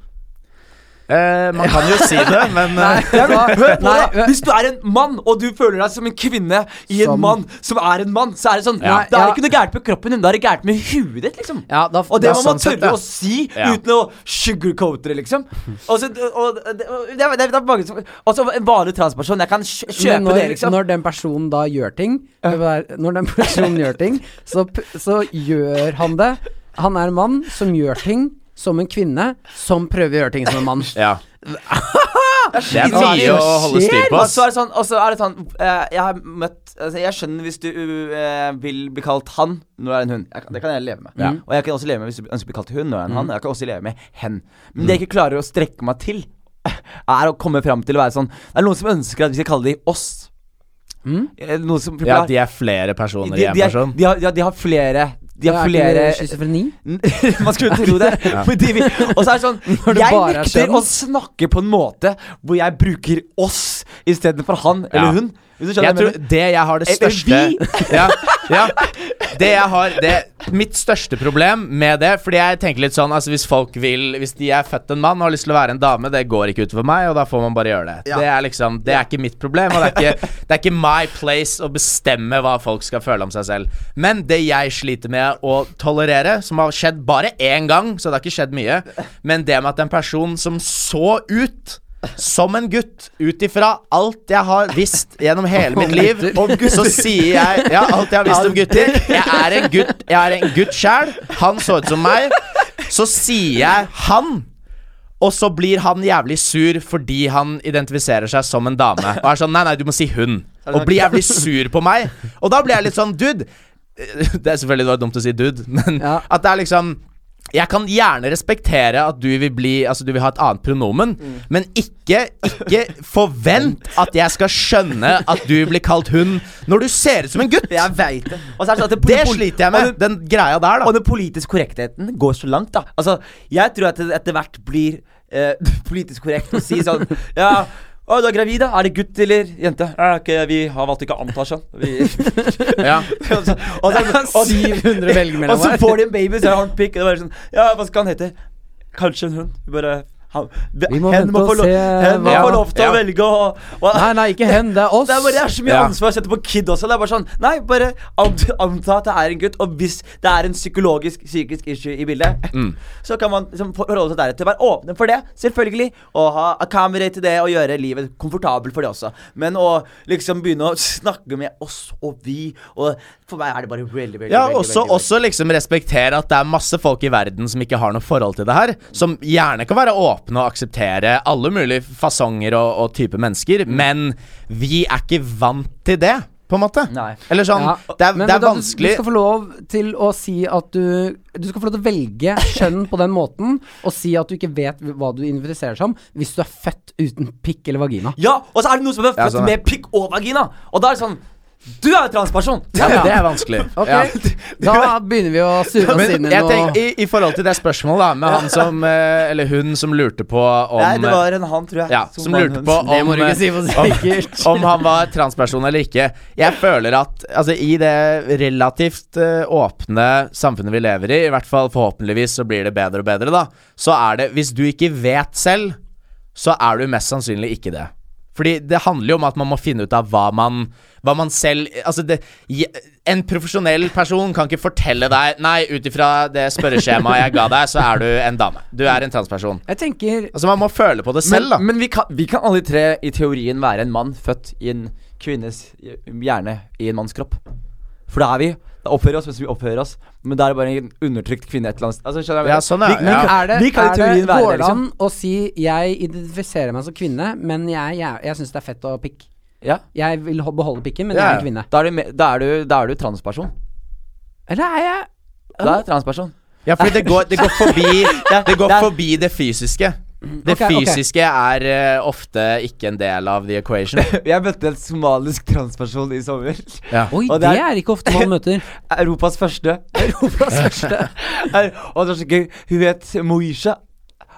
S1: eh, Man kan jo si det, men eh,
S3: Ja, men, hør på
S2: Nei,
S3: da.
S2: hør-
S3: Hvis du er en mann, og du føler deg som en kvinne i
S2: Som-
S3: en mann som er en mann, så er det sånn
S1: Ja.
S3: Da er
S2: Ja.
S3: det ikke noe gærent med kroppen din, da er det gærent med huet ditt, liksom.
S2: Ja, da,
S3: Og det
S2: da,
S3: må
S1: Ja,
S3: man
S1: sånn sett,
S3: tørre
S1: ja.
S3: å si
S1: Ja.
S3: uten å sugarcoate det, liksom. Og så, og, og, det, det, er- det er mange som Og som en vanlig transperson, jeg kan kjø- kjøpe
S2: Men når,
S3: det, liksom.
S2: Når den personen da gjør ting, det var- når den personen gjør ting, så, p- så gjør han det. Han er en mann som gjør ting som en kvinne, som prøver å gjøre ting som en mann.
S1: Ja. Det er mye
S2: Hva er det
S1: å
S2: som
S1: holde styr på.
S3: Og
S1: ass.
S3: så er det sånn, og så er det sånn eh, Jeg har møtt altså, Jeg skjønner hvis du eh, vil bli kalt han når du er en hund. Jeg, kan- det kan jeg leve med.
S1: Ja.
S3: Og jeg kan også leve med hvis du ønsker å bli kalt hun når du er en han. og Jeg kan også leve med hen. Men det jeg ikke klarer å strekke meg til, er å komme fram til å være sånn Det er noen som ønsker at vi skal kalle de oss. Eh, Noen som
S1: Ja, de er flere personer i
S3: de,
S1: én
S3: de, er-
S1: person.
S3: de har, ja, de har flere De har flere
S2: Er ikke det schizofreni?
S3: man skulle tro det. Fordi vi, og så er det sånn
S2: det
S3: Jeg
S2: bare er
S3: nekter
S2: skjønn.
S3: å snakke på en måte hvor jeg bruker oss istedenfor han eller
S1: Ja.
S3: hun. Hvis du skjønner
S1: Jeg
S3: hva jeg
S1: tror
S3: mener. Eh,
S1: det jeg har det
S3: Eller
S1: største ja, ja, Det jeg har det, Mitt største problem med det Fordi jeg tenker litt sånn altså Hvis folk vil Hvis de er født en mann og har lyst til å være en dame Det går ikke ut for meg Og da får man bare gjøre det Det er liksom Det er ikke mitt problem Og det er ikke, det er ikke my place Å bestemme hva folk skal føle om seg selv Men det jeg sliter med å tolerere Som har skjedd bare én gang Så det har ikke skjedd mye Men det med at en person som så ut som en gutt, ut ifra alt jeg har visst gjennom hele mitt liv, så sier jeg Ja, alt jeg har visst om gutter. Jeg er en gutt Jeg er en gutt sjæl. Han så ut som meg. Så sier jeg 'han', og så blir han jævlig sur fordi han identifiserer seg som en dame. Og er sånn 'nei, nei, du må si hun'. Og blir jævlig sur på meg. Og da blir jeg litt sånn 'dude'. Det er selvfølgelig det var dumt å si 'dude', men
S2: Ja.
S1: at det er liksom Jeg kan gjerne respektere at du vil, bli, altså du vil ha et annet pronomen,
S3: Mm.
S1: men ikke, ikke forvent at jeg skal skjønne at du blir kalt hun når du ser ut som en gutt!
S3: Jeg veit det. Og så er det sånn at det,
S1: Det sliter jeg
S3: Og
S1: med,
S3: det-
S1: den greia der,
S3: Og
S1: da.
S3: den politiske korrektheten går så langt, da. Altså, jeg tror at det etter hvert blir eh, politisk korrekt å si sånn Ja, å, du er gravid, da. Er det gutt eller jente? Ja, ok, vi har valgt ikke å anta kjønn. Vi-
S1: Ja.
S3: og så- og så- og-
S2: 700 velg mellom
S3: Og så
S2: her.
S3: får de en baby, så er han pikk. Og det er bare sånn Ja, hva skal han hete? Kanskje en hund. Vi Bare han,
S2: Vi må vente og
S3: få lov-
S2: se
S3: Hen må
S2: hva-
S3: få lov til å
S1: Ja.
S3: velge og, og
S2: Nei, nei, ikke hen, det er oss.
S3: det er bare det er så mye
S1: Ja.
S3: ansvar å sette på kid også. Det er bare sånn Nei, bare ant, anta at det er en gutt, og hvis det er en psykologisk, psykisk issue i bildet,
S1: Mm.
S3: så kan man liksom, for- forholde seg deretter. Være åpen for det, selvfølgelig, og ha accommodate til det og gjøre livet komfortabelt for det også. Men å liksom begynne å snakke med oss og vi, og for meg er det bare veldig, veldig
S1: Ja,
S3: veldig,
S1: også,
S3: veldig, veldig.
S1: også liksom respektere at det er masse folk i verden som ikke har noe forhold til det her. Som gjerne kan være åpne og akseptere alle mulige fasonger og, og type mennesker,
S2: Mm.
S1: men vi er ikke vant til det, på en måte.
S3: Nei.
S1: Eller sånn
S2: Ja,
S1: Det er,
S2: men-
S1: det
S2: men
S1: er
S2: da du-
S1: vanskelig
S2: Du skal få lov til å si at du Du skal få lov til å velge kjønn på den måten, og si at du ikke vet hva du identifiserer som, hvis du er født uten pikk eller vagina.
S3: Ja, og så er det noen som er født
S1: Ja, sånn, ja.
S3: med pikk og vagina, og da er det sånn Du er jo transperson!
S1: ja, men Det er vanskelig.
S2: Ok,
S1: Ja.
S2: da begynner vi å surre oss inn
S1: Men
S2: i
S1: jeg
S2: noe
S1: tenker, i, i forhold til det spørsmålet, da, med han som eh, Eller hun som lurte på om eh,
S3: Nei, det var en han, tror jeg.
S1: ja, som
S3: var en
S1: lurte
S3: hund.
S1: på om,
S2: Det må du ikke si for
S1: om-
S2: sikkert.
S1: om han var transperson eller ikke. Jeg føler at altså, i det relativt eh, åpne samfunnet vi lever i, i hvert fall forhåpentligvis så blir det bedre og bedre, da, så er det Hvis du ikke vet selv, så er du mest sannsynlig ikke det. Fordi det handler jo om at man må finne ut av hva man, hva man selv Altså, det, je- en profesjonell person kan ikke fortelle deg Nei, ut ifra det spørreskjemaet jeg ga deg, så er du en dame. Du er en transperson.
S2: Jeg tenker
S1: Altså, man må føle på det selv, da.
S3: Men vi kan, vi kan alle tre i teorien være en mann født i en kvinnes hjerne i en manns kropp. For da er vi Da oppfører vi oss mens vi oppfører oss, men da er det bare en undertrykt kvinne et eller annet sted. Altså, skjønner du?
S1: Ja, sånn, ja.
S3: Vi, vi,
S1: Ja.
S3: Kan,
S2: Er det,
S3: vi kan i
S2: er
S3: teorien
S2: det
S3: være
S2: går
S3: det,
S2: det
S3: liksom.
S2: an å si 'jeg identifiserer meg som kvinne', men jeg, jeg, jeg syns det er fett å ha pikk?
S3: Ja.
S2: Jeg vil ho- beholde pikken, men
S1: Ja,
S2: jeg er
S1: ja.
S2: en kvinne.
S3: Da er du, me- da er du, da er du transperson.
S2: Eller er jeg
S3: Da er du transperson.
S1: Ja, fordi det går, det går, forbi, det går
S3: det er-
S1: forbi det fysiske. Det
S2: Ok, ok.
S1: fysiske er eh, ofte ikke en del av the equation.
S3: Jeg møtte en somalisk transperson i sommer.
S1: Ja.
S2: Oi,
S3: Og
S2: det,
S3: det er-
S2: er ikke ofte man møter.
S3: Europas første.
S2: Europas største.
S3: Er, og det er så gøy. Hun het Moisha.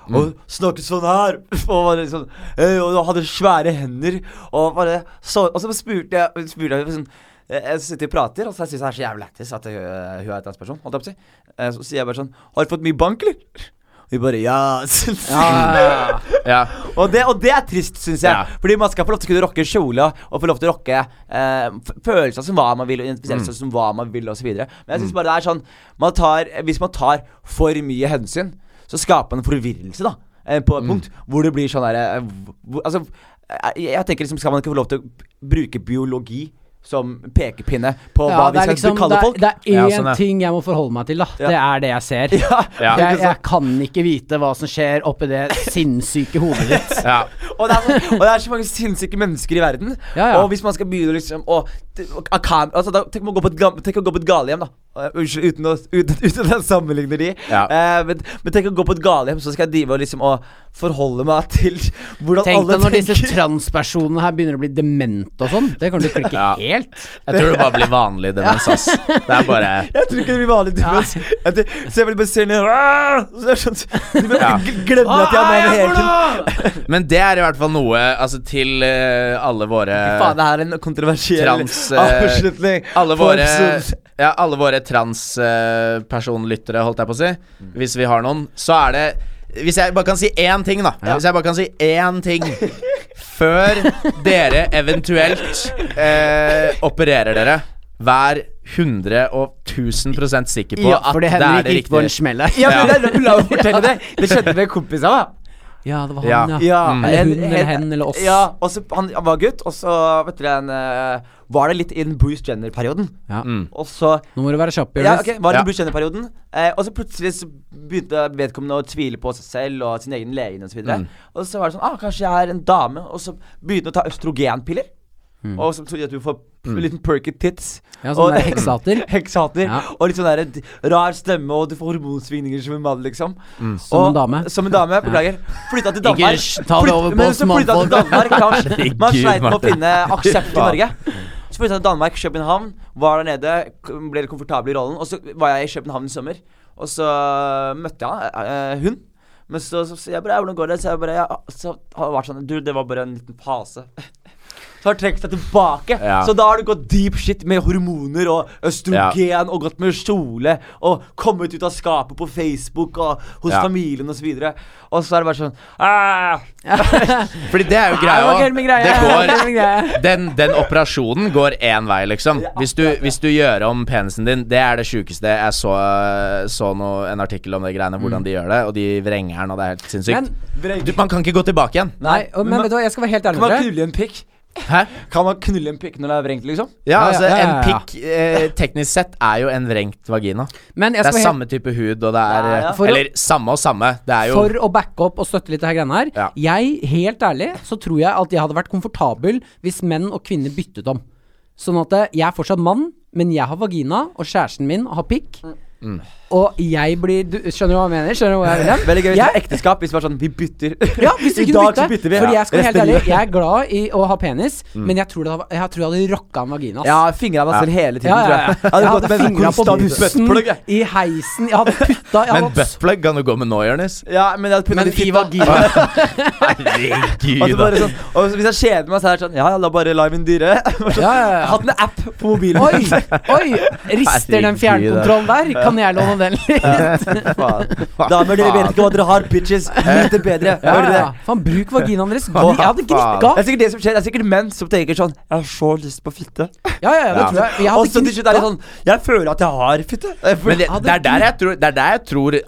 S3: Og snakket sånn her. Og, var litt sånn, «Øy», og hun hadde svære hender. Og, bare, så, og så spurte jeg, spurte jeg sånn eh, jeg sitter og prater, og så syns jeg det er så jævlig lættis at eh, hun er transperson. Holdt jeg på å si. Eh, Så sier jeg bare sånn Har du fått mye bank, eller? Og de bare ja.
S1: Ah. Ja.
S3: og, det, og det er trist, syns jeg.
S1: Ja.
S3: Fordi man skal få lov til å kunne rocke kjola, og få lov til å rocke eh, f- følelser som hva man vil, og identifisere seg som hva man vil, osv. Men jeg syns bare det er sånn man tar, Hvis man tar for mye hensyn, så skaper man forvirrelse, da. eh, På et punkt hvor det blir sånn derre Altså, eh, jeg tenker liksom, skal man ikke få lov til å bruke biologi som pekepinne på hva
S2: Ja, det
S3: vi
S2: er
S3: skal
S2: liksom det
S3: kalle folk?
S2: er, det er
S1: Ja,
S2: én
S1: sånn er det.
S2: ting jeg må forholde meg til, da. Det er det jeg ser.
S1: Ja.
S3: ja.
S2: Jeg,
S3: ikke sant?
S2: jeg kan ikke vite hva som skjer oppi det sinnssyke hodet ditt.
S1: Ja.
S3: og, det er så, og det er så mange sinnssyke mennesker i verden.
S2: Ja, ja.
S3: Og hvis man skal begynne liksom å t- å- å kam- altså, da, tenk, om å gå på et, gam- tenk å gå på et galehjem, da. Eh, Unnskyld, uten, å, uten, uten å sammenligne de.
S1: Ja.
S3: Eh, men, men tenk å gå på et galehjem, så skal jeg drive og liksom å forholde meg til hvordan
S2: Tenk
S3: alle
S2: deg når disse
S3: tenker.
S2: transpersonene her begynner å bli demente og sånn. Det kan du klikke
S1: Ja.
S2: helt.
S1: Jeg tror det bare blir vanlig demens, ass. Det er bare
S3: jeg tror ikke det blir vanlig demens. Jeg tror- Så jeg blir bare seende Så det er sånn Du bare
S1: Ja.
S3: gl- glemmer at jeg er med hele tiden.
S1: Men det er i hvert fall noe altså, til eh, alle våre
S3: Faen, det her er en kontroversiell
S1: Trans, eh,
S3: avslutning.
S1: Alle
S3: for
S1: våre,
S3: episoden.
S1: ja, alle våre transpersonlyttere, holdt jeg på å si, hvis vi har noen, så er det Hvis jeg bare kan si én ting, da. Hvis jeg bare kan si én ting før dere eventuelt eh, opererer dere, vær 100 og 1000 sikker på
S2: Ja,
S1: at
S2: fordi
S1: det er
S2: Henrik
S1: det
S2: gikk på en
S1: riktige.
S2: smell her.
S3: Ja, men det er- La meg fortelle det. Det skjedde med en kompis av meg.
S2: Ja, det var
S1: Ja.
S2: han, ja.
S3: Ja,
S1: Mm.
S2: Eller hun, eller hen, eller oss.
S3: Ja, og så han, han var gutt, og så vet dere, en, eh, var det litt i den Bruce Jenner-perioden.
S2: Ja.
S3: Og så
S2: Nå må du være kjapp,
S3: ja,
S2: Jonis.
S3: ok, var det
S1: Ja.
S3: Bruce Jenner-perioden eh, Og så plutselig så begynte vedkommende å tvile på seg selv og sin
S2: Mm.
S3: egen lege. Og så videre. Og så var det sånn ah, Kanskje jeg er en dame? Og så begynte hun å ta østrogenpiller. og som tror at du får p- liten perky tits.
S2: Mm. Ja, sånn
S3: Og-
S2: der heksater.
S3: Heksater.
S2: Ja.
S3: Og litt sånn der d- rar stemme, og du får hormonsvingninger som en mann, liksom.
S2: Mm. Som
S3: Og-
S2: en dame.
S3: Som en dame, Beklager. Flytta til
S2: Ikke
S3: Danmark.
S2: sj- ta det
S3: Flytt-
S2: over på
S3: men
S2: oss
S3: så flytta til
S2: mannfolk.
S3: Danmark. Kanskje.
S1: Herregud,
S3: Man sleit med å
S1: Martin.
S3: finne aksept i Norge. Så flytta jeg til Danmark, København. Var der nede, k- ble litt komfortabel i rollen. Og så var jeg i København i sommer, og så øh, møtte jeg eh, hun. Men så så sier jeg bare «Ja, 'Hvordan går det?' Så jeg bare ja, Så har det vært sånn Du, det var bare en liten fase. Så har det trukket seg tilbake.
S1: Ja.
S3: Så da har du gått deep shit med hormoner og østrogen og gått med kjole og kommet ut av skapet på Facebook og hos
S1: Ja.
S3: familien osv. Og så er det bare sånn «Ah,
S1: Fordi det er jo greia.
S2: det var
S1: også.
S2: helt min greie,
S1: Det
S2: det var helt
S1: går,
S2: min greie.
S1: den, den operasjonen går én vei, liksom. Hvis du, hvis du gjør om penisen din Det er det sjukeste. Jeg så, så noe, en artikkel om det greiene, hvordan de gjør det, og de vrenger den, og det er helt
S2: Mm. Men,
S1: sinnssykt. Du, man kan ikke gå tilbake igjen.
S2: nei, og, men vet du hva, jeg skal være helt ærlig
S3: Kan man
S2: med dere.
S3: knulle en pikk?
S1: Hæ?
S3: Kan man knulle en pikk når det er vrengt, liksom?
S1: Ja,
S2: Ja,
S1: altså,
S2: ja, ja,
S1: en
S2: ja, ja.
S1: pikk eh, teknisk sett er jo en vrengt vagina.
S2: Men jeg
S1: Det er
S2: skal være helt
S1: samme type hud, og det er
S3: Ja, ja.
S1: eh,
S2: For å-
S1: Eller samme og samme. Det er jo
S2: For å backe opp og støtte litt det her greiene her.
S1: Ja.
S2: Jeg, helt ærlig, så tror jeg at jeg hadde vært komfortabel hvis menn og kvinner byttet om. Sånn at eh, jeg er fortsatt mann, men jeg har vagina, og kjæresten min har pikk. Og jeg blir du, Skjønner du hva jeg mener? Skjønner du hva jeg mener?
S3: Veldig gøy hvis det
S2: Jeg-
S3: er ekteskap, hvis det var sånn Vi bytter.
S2: Ja, hvis vi
S3: I
S2: kunne
S3: dag så
S2: bytte.
S3: bytter vi.
S2: Fordi
S3: Ja,
S2: jeg skal være helt
S3: resten av
S2: ærlig,
S3: livet.
S2: jeg er glad i å ha penis, men jeg tror, det hadde, jeg tror jeg hadde rocka en vagina. ass.
S3: Ja, fingra meg selv hele tiden,
S2: Ja, ja,
S3: tror
S2: ja.
S3: jeg.
S2: Jeg hadde fingra på
S3: konstant
S2: bussen,
S3: buttplug, jeg.
S2: i heisen, jeg hadde putta jeg
S1: Men
S2: hadde hatt
S1: buttplug kan du gå med nå, Jonis.
S3: Ja, men jeg hadde puttet
S2: Men
S3: det i
S2: i
S3: fitta.
S2: vagina.
S3: Og så
S1: Herregud.
S3: bare sånn, og så hvis jeg kjeder meg, så er det sånn Ja, ja, da bare la min dyre. Sånn,
S2: Ja, ja, ja.
S3: Hatt en app på mobilen.
S2: Oi! oi, Rister den
S1: Herregud,
S2: fjernkontrollen der? Kan jeg låne den litt?
S3: Faen. Damer, dere vet ikke hva dere har, bitches. Nyt det bedre.
S2: Ja, ja,
S3: Hører dere
S2: ja.
S3: det?
S2: Faen, bruk vaginaen deres. Gni-
S1: Hva
S2: Jeg hadde
S1: faen?
S2: gnikka.
S3: Det er sikkert det som skjer. Det er sikkert menn som tenker sånn Jeg har så lyst på fitte.
S2: Ja, ja, ja, det
S1: Ja.
S2: tror Altså, jeg. Jeg
S3: Og så
S2: hadde
S3: til slutt er det
S2: gnikka.
S3: sånn Jeg føler at jeg har fitte. Jeg føler-
S1: Men det,
S2: Hadde
S1: det, er der jeg tror, det er der jeg tror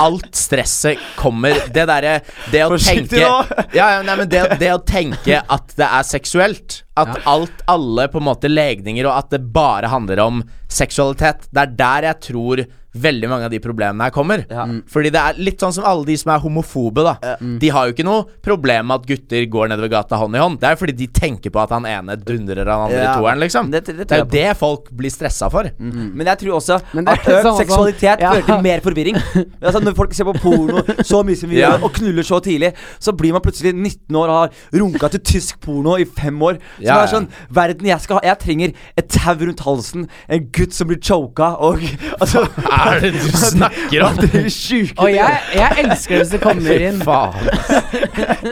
S1: alt stresset kommer. Det derre Det å
S3: Forsiktig
S1: tenke
S3: nå.
S1: ja, ja, nei, men det, det å tenke at det er seksuelt. At alt, alle på en måte legninger, og at det bare handler om seksualitet. Det er der jeg tror veldig mange av de problemene her kommer.
S3: Ja. Mm.
S1: Fordi det er litt sånn som alle de som er homofobe, da. De har jo ikke noe problem med at gutter går nedover gata hånd i hånd. Det er jo fordi de tenker på at han ene dundrer han andre
S3: Ja.
S1: i toeren, liksom.
S3: Det-
S1: Det,
S3: det tror
S1: er
S3: jeg
S1: jo
S3: Mm.
S1: det folk blir stressa for.
S3: Men jeg tror også
S2: Men det
S3: at
S2: er sånn
S3: økt
S2: som-
S3: seksualitet
S2: Ja.
S3: fører til mer forvirring. Altså Når folk ser på porno så mye som vi
S1: Ja.
S3: gjør, og knuller så tidlig, så blir man plutselig 19 år og har runka til tysk porno i fem år. Så
S1: Ja,
S3: det er
S1: ja.
S3: sånn Verden jeg skal ha Jeg trenger et tau rundt halsen, en gutt som blir choka, og altså
S1: Hva er det du snakker om?
S3: Det er sjuke
S2: Og
S3: ting.
S2: jeg, jeg elsker hvis det kommer inn
S1: Faen.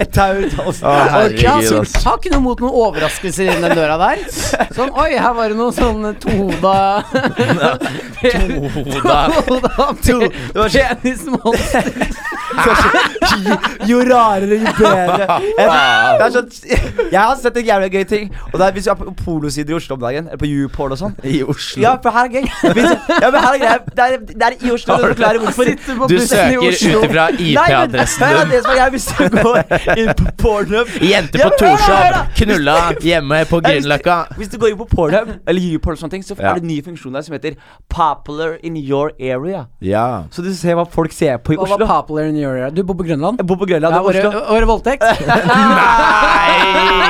S3: Et tau rundt halsen.
S1: Å,
S2: Og ja,
S1: herregud,
S2: så
S1: ass.
S2: Har ikke noe mot noen overraskelser innen den døra der. Sånn Oi, her var det noe sånn tohoda
S1: Hoda.
S2: Tohoda penismonster.
S3: Jo, jo rarere, jo bedre. Jeg, det er sånn, jeg har sett en jævlig gøy ting. Og det er Hvis du er på polosider i Oslo om dagen, eller på YouPorn og sånn
S1: I Oslo.
S3: Ja, for her er gøy. Hvis, ja, men her er greia. Det er, det er i Oslo.
S1: Har
S3: Det
S1: du-
S3: forklarer hvorfor.
S1: Du søker ut ifra
S3: Nei, men
S1: IP-adressen
S3: det er det som er greia. Hvis du går inn på Pornhub
S1: din. Jente
S3: Ja,
S1: på
S3: men hør da, hør da.
S1: Torshov knulla hjemme på
S3: Nei, hvis du-
S1: Grünerløkka.
S3: Hvis du går inn på Pornhub eller YouPorn, og sånne ting, så
S1: Ja.
S3: er det en ny funksjon der som heter 'Popular in your area'.
S1: Ja.
S3: Så du ser hva folk ser på i
S2: Hva var
S3: Oslo.
S2: popular in your area? Du bor på Grønland?
S3: Jeg bor på Grønland.
S2: Ja,
S3: og
S2: året,
S3: Oslo.
S2: året voldtekt?
S1: Nei!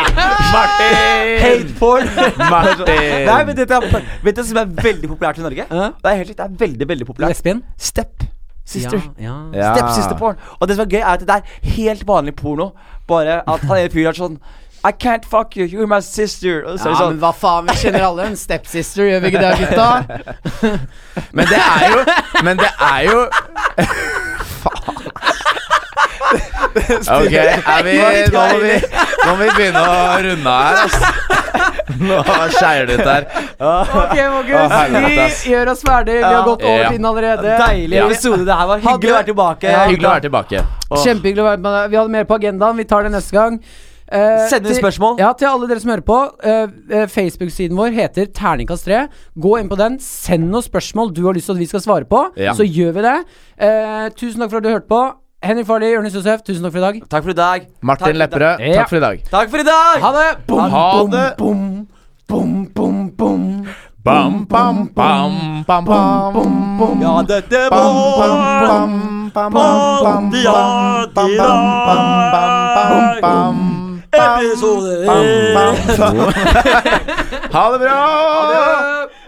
S1: Martin!
S3: Hate porn.
S1: Martin!
S3: Nei, men dette er, vet du hva som er veldig populært i Norge? Det er helt riktig. Det er veldig, veldig populært.
S2: Lesbien?
S3: Step sister.
S2: Ja, ja.
S1: Ja.
S3: Stepsisterporn. Og det som er gøy, er at det er helt vanlig porno. Bare at han ene fyren er sånn I can't fuck you, you're my sister. Og så er
S2: Ja,
S3: det
S2: men
S3: sånn
S2: hva faen, vi kjenner alle en stepsister, gjør vi ikke det, gutta?
S1: Men det er jo Men det er jo Faen. Ok, er vi, nå, må vi, nå må vi begynne å runde av her, ass. Nå skeier det ut her.
S2: Ok,
S1: Å, helvete, ass.
S2: Mogus, vi gjør oss ferdig. Vi har gått over
S1: Ja.
S2: tiden allerede.
S3: Deilig
S1: Ja.
S3: episode det her var. Hyggelig å være tilbake.
S2: Ja,
S1: Hyggelig å være tilbake.
S3: Åh.
S2: Kjempehyggelig å være med deg. Vi hadde mer på agendaen. Vi tar det neste gang. Eh,
S3: Send inn
S2: til-
S3: spørsmål.
S2: Ja, til alle dere som hører på. eh, eh, Facebook-siden vår heter Terningkast 3. Gå inn på den. Send oss spørsmål du har lyst til at vi skal svare på.
S1: Ja.
S2: Så gjør vi det. Eh, tusen takk for at du hørte på. Henrik Farley, Jonis Josef, tusen takk for i dag.
S3: Takk for i dag. Takk for i
S1: Martin
S3: dag.
S1: Lepperød,
S2: Ja.
S1: takk for i dag.
S3: Takk for i dag.
S2: Ha det! Bom,
S1: Ha
S2: bom,
S1: det.
S2: bom, bom, bom, bom.
S1: Bam, bam, bam, bam, bam, bam, bam.
S3: Ja, dette var
S1: Bam, bam, bam, bam, bam, bam, bam, bam, bam, bam, bam, bam.
S4: Bam, bam, bam. Ha det bra!
S1: episode!